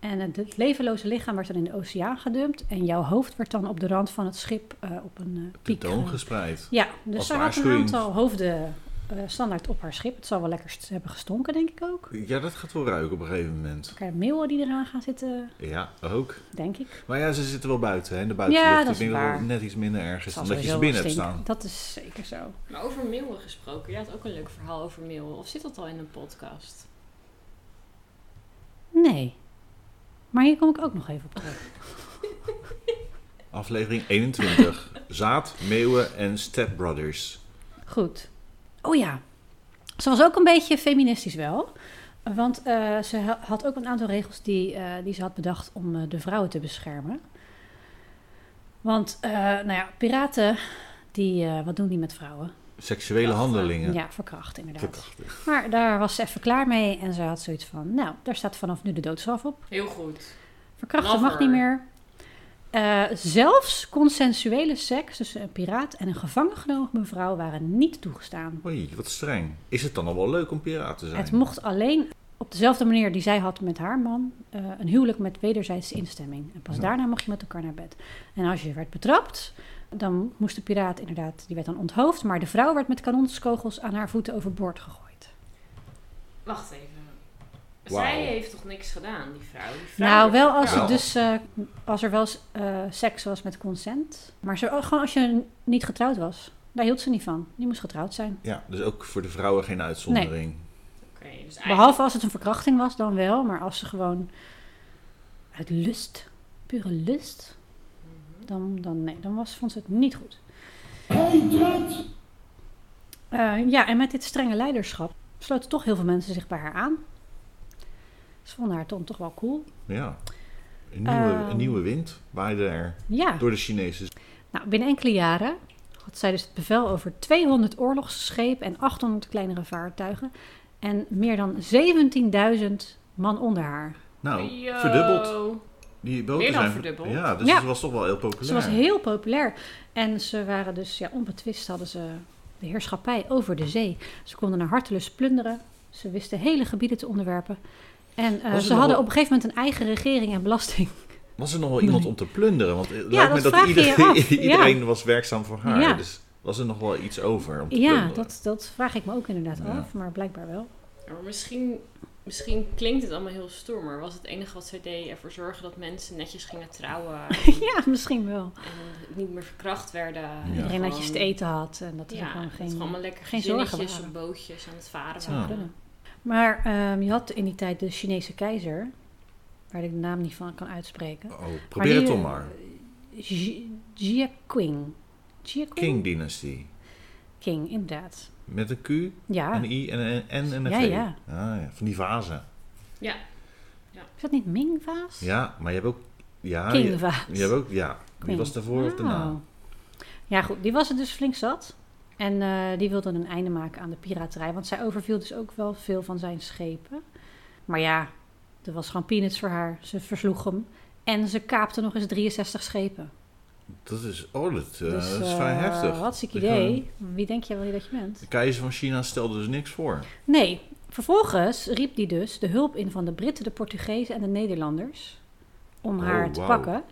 Speaker 3: En het het levenloze lichaam werd dan in de oceaan gedumpt. En jouw hoofd werd dan op de rand van het schip eh, op een eh, piek.
Speaker 1: Tentoon
Speaker 3: ge-
Speaker 1: gespreid.
Speaker 3: Ja, dus
Speaker 1: Als
Speaker 3: zij had een
Speaker 1: waarschuwing.
Speaker 3: aantal hoofden eh, standaard op haar schip. Het zal wel lekker st- hebben gestonken, denk ik ook.
Speaker 1: Ja, dat gaat wel ruiken op een gegeven moment.
Speaker 3: Lekker meeuwen die eraan gaan zitten,
Speaker 1: Ja, ook.
Speaker 3: denk ik.
Speaker 1: Maar ja, ze zitten wel buiten, hè, in de buitenlucht.
Speaker 3: Ja, dat
Speaker 1: ik
Speaker 3: is
Speaker 1: denk dat
Speaker 3: waar.
Speaker 1: het net iets minder erg is
Speaker 3: Zal
Speaker 1: dan dat je ze
Speaker 3: sowieso wel
Speaker 1: binnen hebt
Speaker 3: stinken.
Speaker 1: staan.
Speaker 3: Dat is zeker zo.
Speaker 4: Maar over meeuwen gesproken. Jij had ook een leuk verhaal over meeuwen. Of zit dat al in een podcast?
Speaker 3: Nee. Maar hier kom ik ook nog even op terug.
Speaker 1: Aflevering 21. Zaad, meeuwen en stepbrothers.
Speaker 3: Goed. Oh ja. Ze was ook een beetje feministisch wel. Want eh, ze ha- had ook een aantal regels die, eh, die ze had bedacht om eh, de vrouwen te beschermen. Want, eh, nou ja, piraten, die, eh, wat doen die met vrouwen?
Speaker 1: Seksuele handelingen.
Speaker 3: Ja, verkracht inderdaad.
Speaker 1: Verkrachting.
Speaker 3: Maar daar was ze even klaar mee en ze had zoiets van, nou, daar staat vanaf nu de doodstraf op.
Speaker 4: Heel goed.
Speaker 3: Verkrachten mag
Speaker 4: Lover.
Speaker 3: niet meer. Eh, zelfs consensuele seks tussen een piraat en een gevangen genomen vrouw waren niet toegestaan.
Speaker 1: Oei, wat streng. Is het dan al wel leuk om piraat te zijn?
Speaker 3: Het mocht alleen op dezelfde manier die zij had met haar man, eh, een huwelijk met wederzijdse instemming. En pas
Speaker 1: Ja.
Speaker 3: daarna mocht je met elkaar naar bed. En als je werd betrapt, dan moest de piraat inderdaad, die werd dan onthoofd, maar de vrouw werd met kanonskogels aan haar voeten overboord gegooid.
Speaker 4: Wacht even.
Speaker 1: Wauw.
Speaker 4: Zij heeft toch niks gedaan, die vrouw? Die vrouw
Speaker 3: Nou,
Speaker 4: werd
Speaker 3: wel als,
Speaker 1: Wel.
Speaker 3: het dus, eh, als er wel eens, eh, seks was met consent. Maar zo, oh, gewoon als je niet getrouwd was. Daar hield ze niet van. Die moest getrouwd zijn.
Speaker 1: Ja, dus ook voor de vrouwen geen uitzondering.
Speaker 4: Oké, dus eigenlijk...
Speaker 3: Behalve als het een verkrachting was, dan wel. Maar als ze gewoon uit lust, pure lust, dan, dan nee, dan was, vond ze het niet goed. Eh, ja, en met dit strenge leiderschap sloten toch heel veel mensen zich bij haar aan. Ze vonden haar dan toch wel cool.
Speaker 1: Ja. Een nieuwe,
Speaker 3: Ehm. Ah.
Speaker 1: een nieuwe wind waaide er
Speaker 3: Ja,
Speaker 1: door de Chinezen.
Speaker 3: nou, binnen enkele jaren had zij dus het bevel over 200 oorlogsschepen en 800 kleinere vaartuigen. En meer dan 17.000 man onder haar.
Speaker 1: Nou,
Speaker 4: Yo.
Speaker 1: verdubbeld. Die boten
Speaker 4: Meer dan
Speaker 1: zijn
Speaker 4: verdubbeld.
Speaker 1: Ja, dus
Speaker 3: Ja.
Speaker 1: het was toch wel heel populair.
Speaker 3: Ze was heel populair. En ze waren dus, ja, onbetwist hadden ze de heerschappij over de zee. Ze konden naar hartelust plunderen. Ze wisten hele gebieden te onderwerpen. En eh,
Speaker 1: er nog
Speaker 3: ze hadden
Speaker 1: wel-
Speaker 3: op een gegeven moment een eigen regering en belasting.
Speaker 1: Was er nog wel iemand om te plunderen? Want het
Speaker 3: Ja,
Speaker 1: lijkt me
Speaker 3: dat
Speaker 1: dat
Speaker 3: vraag je je
Speaker 1: iedereen,
Speaker 3: af. Ja.
Speaker 1: iedereen was werkzaam voor haar.
Speaker 3: Ja.
Speaker 1: Dus was er nog wel iets over om te
Speaker 3: Ja,
Speaker 1: plunderen?
Speaker 3: dat, dat vraag ik me ook inderdaad
Speaker 1: Ja.
Speaker 3: af, maar blijkbaar wel.
Speaker 4: Ja, maar misschien, misschien klinkt het allemaal heel stoer, maar was het enige wat zij deed ervoor zorgen dat mensen netjes gingen trouwen en,
Speaker 3: Ja, misschien wel.
Speaker 4: en niet meer verkracht werden. En
Speaker 1: Ja.
Speaker 3: Iedereen dat je
Speaker 4: gewoon-
Speaker 3: te eten had en dat er
Speaker 4: Ja,
Speaker 3: gewoon geen...
Speaker 4: dat er allemaal lekker
Speaker 3: geen
Speaker 4: geen
Speaker 3: zorgen
Speaker 4: gezinnetjes
Speaker 3: waren.
Speaker 4: op bootjes aan het varen
Speaker 1: Zou
Speaker 4: waren.
Speaker 3: kunnen. Maar ehm, je had in die tijd de Chinese keizer, waar ik de naam niet van kan uitspreken.
Speaker 1: Oh, probeer het
Speaker 3: die,
Speaker 1: dan
Speaker 3: eh,
Speaker 1: maar.
Speaker 3: Xi- Jiaqing. Jiaqing?
Speaker 1: King-dynastie.
Speaker 3: King, inderdaad.
Speaker 1: Met een Q,
Speaker 3: Ja,
Speaker 1: een I en een N en een
Speaker 3: Ah. Ja,
Speaker 1: V.
Speaker 3: ja.
Speaker 1: Ah, ja. Van die vazen.
Speaker 4: Ja,
Speaker 3: is dat niet Mingvaas?
Speaker 1: Ja, maar je hebt ook... Ja, je,
Speaker 3: Kingvaas.
Speaker 1: je hebt ook... Ja, die
Speaker 3: Queen.
Speaker 1: was daarvoor of
Speaker 3: Oh.
Speaker 1: daarna.
Speaker 3: Ja, goed. Die was het dus flink zat. En eh, die wilde een einde maken aan de piraterij. Want zij overviel dus ook wel veel van zijn schepen. Maar ja, er was gewoon peanuts voor haar. Ze versloeg hem. En ze kaapte nog eens 63 schepen.
Speaker 1: Dat is... Oh, dat, eh,
Speaker 3: dus,
Speaker 1: dat is vrij
Speaker 3: eh,
Speaker 1: heftig.
Speaker 3: Hartstikke
Speaker 1: Ik, eh,
Speaker 3: idee. Wie denk jij wel niet dat je bent?
Speaker 1: De keizer van China stelde dus niks voor.
Speaker 3: Nee, vervolgens riep hij dus de hulp in van de Britten, de Portugezen en de Nederlanders om
Speaker 1: Oh,
Speaker 3: haar te
Speaker 1: wauw.
Speaker 3: pakken.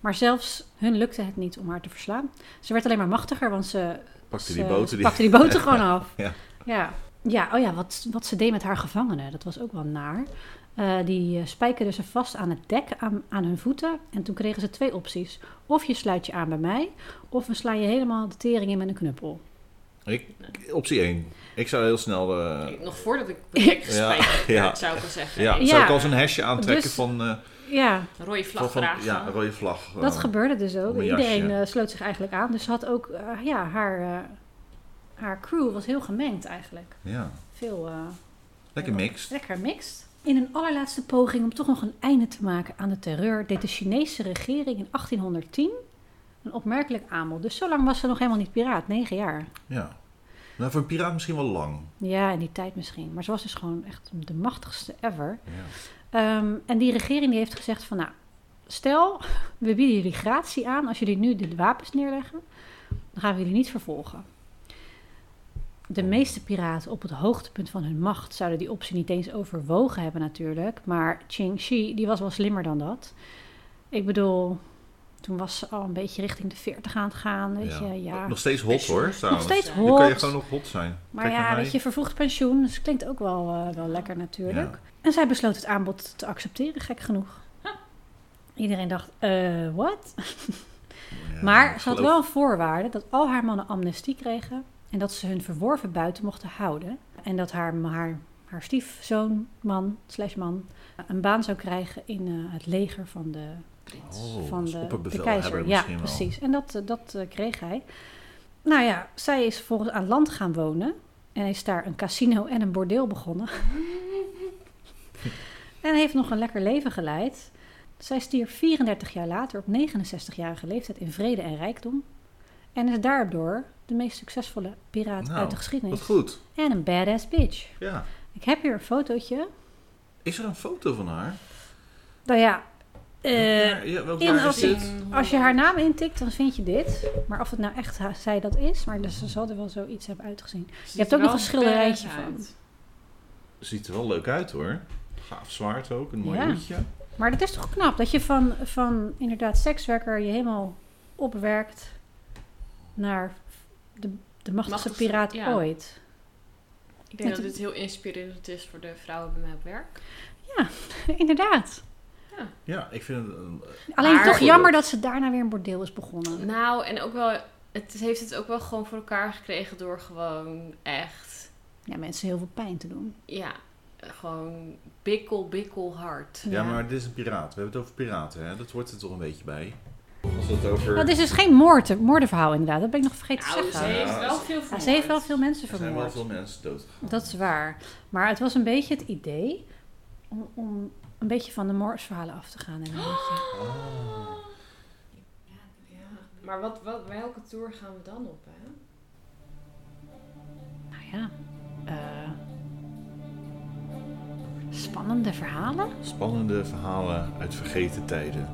Speaker 3: Maar zelfs hun lukte het niet om haar te verslaan. Ze werd alleen maar machtiger, want ze,
Speaker 1: Pakte
Speaker 3: ze-
Speaker 1: die
Speaker 3: ze
Speaker 1: boten die...
Speaker 3: pakte die boten gewoon af.
Speaker 1: Ja.
Speaker 3: ja. Ja, oh ja, wat, wat ze deed met haar gevangenen, dat was ook wel naar. Eh, die eh, spijkerden ze vast aan het dek, aan, aan hun voeten. En toen kregen ze twee opties. Of je sluit je aan bij mij, of we slaan je helemaal de tering in met een knuppel.
Speaker 1: Ik, optie 1. Ik zou heel snel... eh,
Speaker 4: ik- nog voordat ik bedekt
Speaker 1: Ja,
Speaker 4: gespijkerd werd,
Speaker 1: ja.
Speaker 4: zou ik wel zeggen.
Speaker 1: Ja,
Speaker 4: Hey,
Speaker 1: zou ik
Speaker 3: Ja.
Speaker 1: als een hesje aantrekken
Speaker 3: Dus-
Speaker 1: van, eh,
Speaker 3: Ja,
Speaker 4: een rode
Speaker 1: van,
Speaker 4: vlag
Speaker 1: van
Speaker 4: dragen.
Speaker 1: ja, een rode vlag.
Speaker 3: Dat
Speaker 1: eh,
Speaker 3: gebeurde dus ook.
Speaker 1: om een jasje.
Speaker 3: Iedereen eh, sloot zich eigenlijk aan. Dus ze had ook, eh, ja, haar, eh, haar crew was heel gemengd eigenlijk.
Speaker 1: Ja,
Speaker 3: Veel eh,
Speaker 1: lekker mixed.
Speaker 3: lekker mixed. In een allerlaatste poging om toch nog een einde te maken aan de terreur, deed de Chinese regering in 1810 een opmerkelijk aanbod. Dus zo lang was ze nog helemaal niet piraat, negen jaar.
Speaker 1: Ja. Nou, voor een piraat misschien wel lang.
Speaker 3: Ja, in die tijd misschien. Maar ze was dus gewoon echt de machtigste ever.
Speaker 1: Ja.
Speaker 3: Ehm, en die regering die heeft gezegd van nou, stel, we bieden jullie gratie aan als jullie nu de wapens neerleggen, dan gaan we jullie niet vervolgen. De meeste piraten op het hoogtepunt van hun macht zouden die optie niet eens overwogen hebben natuurlijk, maar Ching Shi die was wel slimmer dan dat. Ik bedoel, toen was ze al een beetje richting de 40 aan het gaan, weet
Speaker 1: Ja.
Speaker 3: je, ja.
Speaker 1: Nog steeds hot hoor,
Speaker 3: Nog
Speaker 1: trouwens.
Speaker 3: steeds
Speaker 4: Dan
Speaker 1: Nu kan je
Speaker 3: hot.
Speaker 1: gewoon nog hot zijn.
Speaker 3: Maar
Speaker 1: Kijk naar
Speaker 3: ja,
Speaker 1: mij.
Speaker 3: weet je, vervroegd pensioen, dus klinkt ook wel, eh, wel lekker natuurlijk.
Speaker 1: Ja.
Speaker 3: En zij besloot het aanbod te accepteren, gek genoeg. Iedereen dacht, eh, wat?
Speaker 1: Ja,
Speaker 3: maar ze had
Speaker 1: geloof-
Speaker 3: wel een voorwaarde dat al haar mannen amnestie kregen... en dat ze hun verworven buiten mochten houden. En dat haar, haar, haar stiefzoon, man, slash man... een baan zou krijgen in eh, het leger van de
Speaker 1: Oh,
Speaker 3: van
Speaker 1: als
Speaker 3: de, de
Speaker 1: opperbevelhebber
Speaker 3: keizer. Ja,
Speaker 1: misschien wel.
Speaker 3: precies. En dat, eh, dat eh, kreeg hij. Nou ja, zij is volgens aan land gaan wonen. En is daar een casino en een bordeel begonnen. en heeft nog een lekker leven geleid. Zij stierf 34 jaar later op 69-jarige leeftijd in vrede en rijkdom. En is daardoor de meest succesvolle piraat
Speaker 1: Nou,
Speaker 3: uit de
Speaker 1: Wat
Speaker 3: geschiedenis.
Speaker 1: goed.
Speaker 3: En een badass bitch.
Speaker 1: Ja.
Speaker 3: Ik heb hier een fotootje.
Speaker 1: Is er een foto van haar?
Speaker 3: Nou ja, Eh,
Speaker 1: ja, welk
Speaker 3: in
Speaker 1: jaar is
Speaker 3: als,
Speaker 1: dit?
Speaker 4: ik-
Speaker 3: als je haar naam intikt, dan vind je dit. Maar of het nou echt ha- zij dat is, maar dus ze zal er wel zoiets hebben uitgezien. Je hebt ook nog een schilderijtje van.
Speaker 1: Ziet er wel leuk uit hoor. Gaaf zwaard ook, een mooi
Speaker 3: Ja.
Speaker 1: hoedje.
Speaker 3: Maar dat is toch knap dat je van, van inderdaad sekswerker je helemaal opwerkt naar de, de machtigste,
Speaker 4: Machtigste,
Speaker 3: piraat
Speaker 4: ja.
Speaker 3: ooit.
Speaker 4: Ik
Speaker 3: Met
Speaker 4: denk dat
Speaker 3: een-
Speaker 4: dit heel inspirerend is voor de vrouwen bij mij op werk.
Speaker 3: inderdaad.
Speaker 1: Ja, ik vind het... een-
Speaker 3: Alleen
Speaker 4: Maar-
Speaker 3: toch jammer dat ze daarna weer een bordeel is begonnen.
Speaker 4: Nou, en ook wel, het heeft het ook wel gewoon voor elkaar gekregen door gewoon echt,
Speaker 3: Ja, mensen heel veel pijn te doen.
Speaker 4: ja, gewoon bikkel, bikkel hard.
Speaker 1: ja. maar dit is een piraat. We hebben het over piraten, hè? Dat hoort er toch een beetje bij. Als het over...
Speaker 3: Dat is dus geen moord, moordenverhaal inderdaad. Dat ben ik nog vergeten
Speaker 4: Nou,
Speaker 3: te
Speaker 4: ze
Speaker 3: zeggen.
Speaker 1: zeker.
Speaker 4: heeft
Speaker 1: Ja,
Speaker 4: wel
Speaker 1: ze-
Speaker 4: veel
Speaker 3: Ja,
Speaker 4: vermoord.
Speaker 3: ze heeft wel veel mensen
Speaker 1: er zijn wel
Speaker 3: vermoord.
Speaker 1: veel mensen doodgegaan.
Speaker 3: Dat is waar. Maar het was een beetje het idee om, om een beetje van de moordverhalen af te gaan. En een beetje-
Speaker 4: Ja, maar wat, wat, welke tour gaan we dan op, hè?
Speaker 3: nou ja, eh, spannende verhalen.
Speaker 1: Spannende verhalen uit vergeten tijden.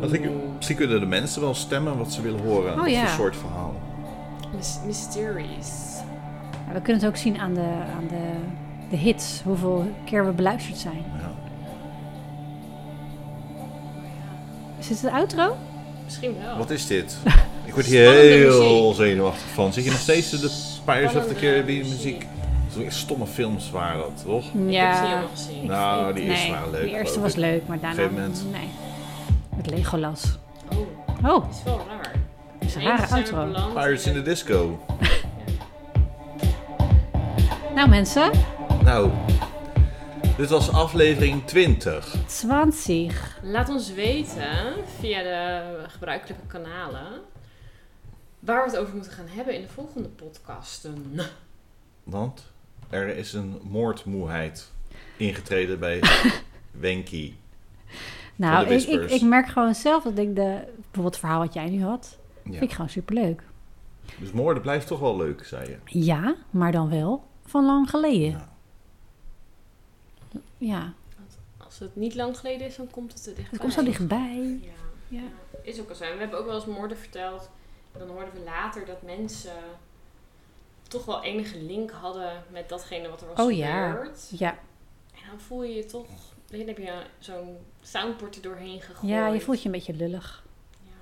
Speaker 1: Dat ik, misschien kunnen de mensen wel stemmen wat ze willen horen.
Speaker 3: Oh,
Speaker 1: wat
Speaker 3: ja.
Speaker 1: voor soort verhaal.
Speaker 4: Mys- Mysteries.
Speaker 3: Ja, we kunnen het ook zien aan, de, aan de, de hits, hoeveel keer we beluisterd zijn.
Speaker 1: Ja.
Speaker 3: Is dit het outro?
Speaker 4: Misschien wel.
Speaker 1: Wat is dit? Ik word hier
Speaker 4: Oh. Spannende
Speaker 1: heel
Speaker 4: muziek.
Speaker 1: zenuwachtig van. Zit je nog steeds de Pirates of the
Speaker 4: Spannende
Speaker 1: Caribbean
Speaker 4: muziek.
Speaker 1: muziek? Dat is stomme films waren dat, toch?
Speaker 4: Ik heb ze niet helemaal gezien.
Speaker 1: Nou, die eerste
Speaker 3: nee,
Speaker 1: waren leuk,
Speaker 3: De eerste
Speaker 1: geloof
Speaker 3: was
Speaker 1: ik.
Speaker 3: leuk, maar daarna.
Speaker 1: Op een gegeven moment.
Speaker 3: Nee. Met Legolas.
Speaker 4: Oh,
Speaker 3: Oh,
Speaker 4: is wel raar.
Speaker 3: dat is een
Speaker 4: Ineens
Speaker 3: rare
Speaker 4: zijn we
Speaker 3: outro.
Speaker 4: beland
Speaker 1: Pirates in the Disco.
Speaker 3: Nou mensen,
Speaker 1: Nou, dit was aflevering 20.
Speaker 3: 20.
Speaker 4: Laat ons weten via de gebruikelijke kanalen waar we het over moeten gaan hebben in de volgende podcasten.
Speaker 1: Want er is een moordmoeheid ingetreden bij Wenky.
Speaker 3: Nou,
Speaker 1: Van de
Speaker 3: ik, ik,
Speaker 1: whispers.
Speaker 3: ik merk gewoon zelf dat ik de, bijvoorbeeld het verhaal wat jij nu had,
Speaker 1: Ja.
Speaker 3: vind ik gewoon superleuk.
Speaker 1: Dus moorden blijft toch wel leuk, zei je.
Speaker 3: Ja, maar dan wel van lang geleden.
Speaker 1: Ja.
Speaker 3: Ja.
Speaker 4: Als het niet lang geleden is, dan komt het er dichtbij.
Speaker 3: het komt zo dichtbij.
Speaker 4: Ja.
Speaker 3: Ja.
Speaker 4: Is ook al zo. En we hebben ook wel eens moorden verteld. En dan hoorden we later dat mensen toch wel enige link hadden met datgene wat er was
Speaker 3: Oh ja.
Speaker 4: gebeurd.
Speaker 3: Ja,
Speaker 4: En dan voel je je toch... Dan heb je zo'n soundboard er doorheen gegooid.
Speaker 3: ja, je voelt je een beetje lullig.
Speaker 4: Ja.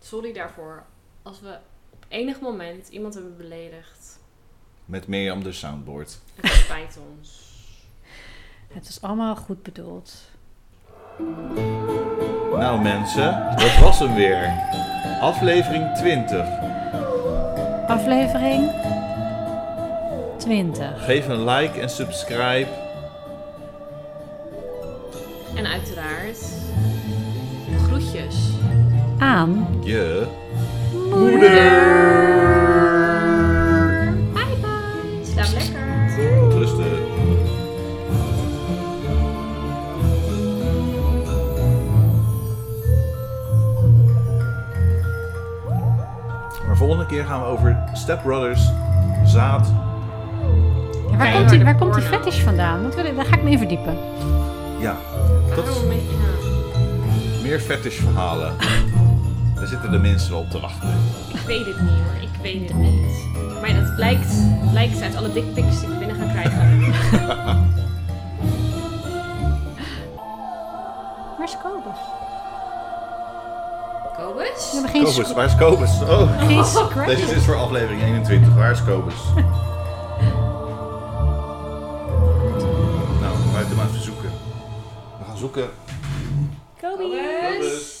Speaker 4: Sorry daarvoor. Als we op enig moment iemand hebben beledigd,
Speaker 1: Met Mirjam de soundboard.
Speaker 4: het spijt ons.
Speaker 3: Het is allemaal goed bedoeld.
Speaker 1: Nou mensen, dat was hem weer. Aflevering 20.
Speaker 3: Aflevering 20.
Speaker 1: Geef een like en subscribe.
Speaker 4: En uiteraard, groetjes.
Speaker 3: Aan.
Speaker 1: Je...
Speaker 4: Bye bye. Slaap lekker.
Speaker 1: Rusten. Maar volgende keer gaan we over Step Brothers, Zaad.
Speaker 3: Ja, waar,
Speaker 4: Kijk,
Speaker 3: komt die,
Speaker 4: maar
Speaker 3: waar
Speaker 4: de
Speaker 3: komt die
Speaker 4: porno.
Speaker 3: fetish vandaan? Dat wil ik- daar ga ik me in verdiepen.
Speaker 1: Ja, dat is
Speaker 4: Waarom ben je nou?
Speaker 1: meer fetish verhalen. Daar zitten de mensen op te wachten.
Speaker 4: Ik weet het niet hoor, ik weet het niet. Maar dat blijkt, blijkt uit alle dikpiks die ik binnen ga krijgen.
Speaker 3: Waar is Kobus?
Speaker 4: Kobus?
Speaker 3: We hebben geen,
Speaker 1: Kobus,
Speaker 3: sc-
Speaker 1: waar is Kobus? Oh,
Speaker 3: geen scratch.
Speaker 1: deze is voor aflevering 21. Waar is Kobus? nou, buiten maar even zoeken. We gaan zoeken.
Speaker 3: Kobus.
Speaker 1: Kobus.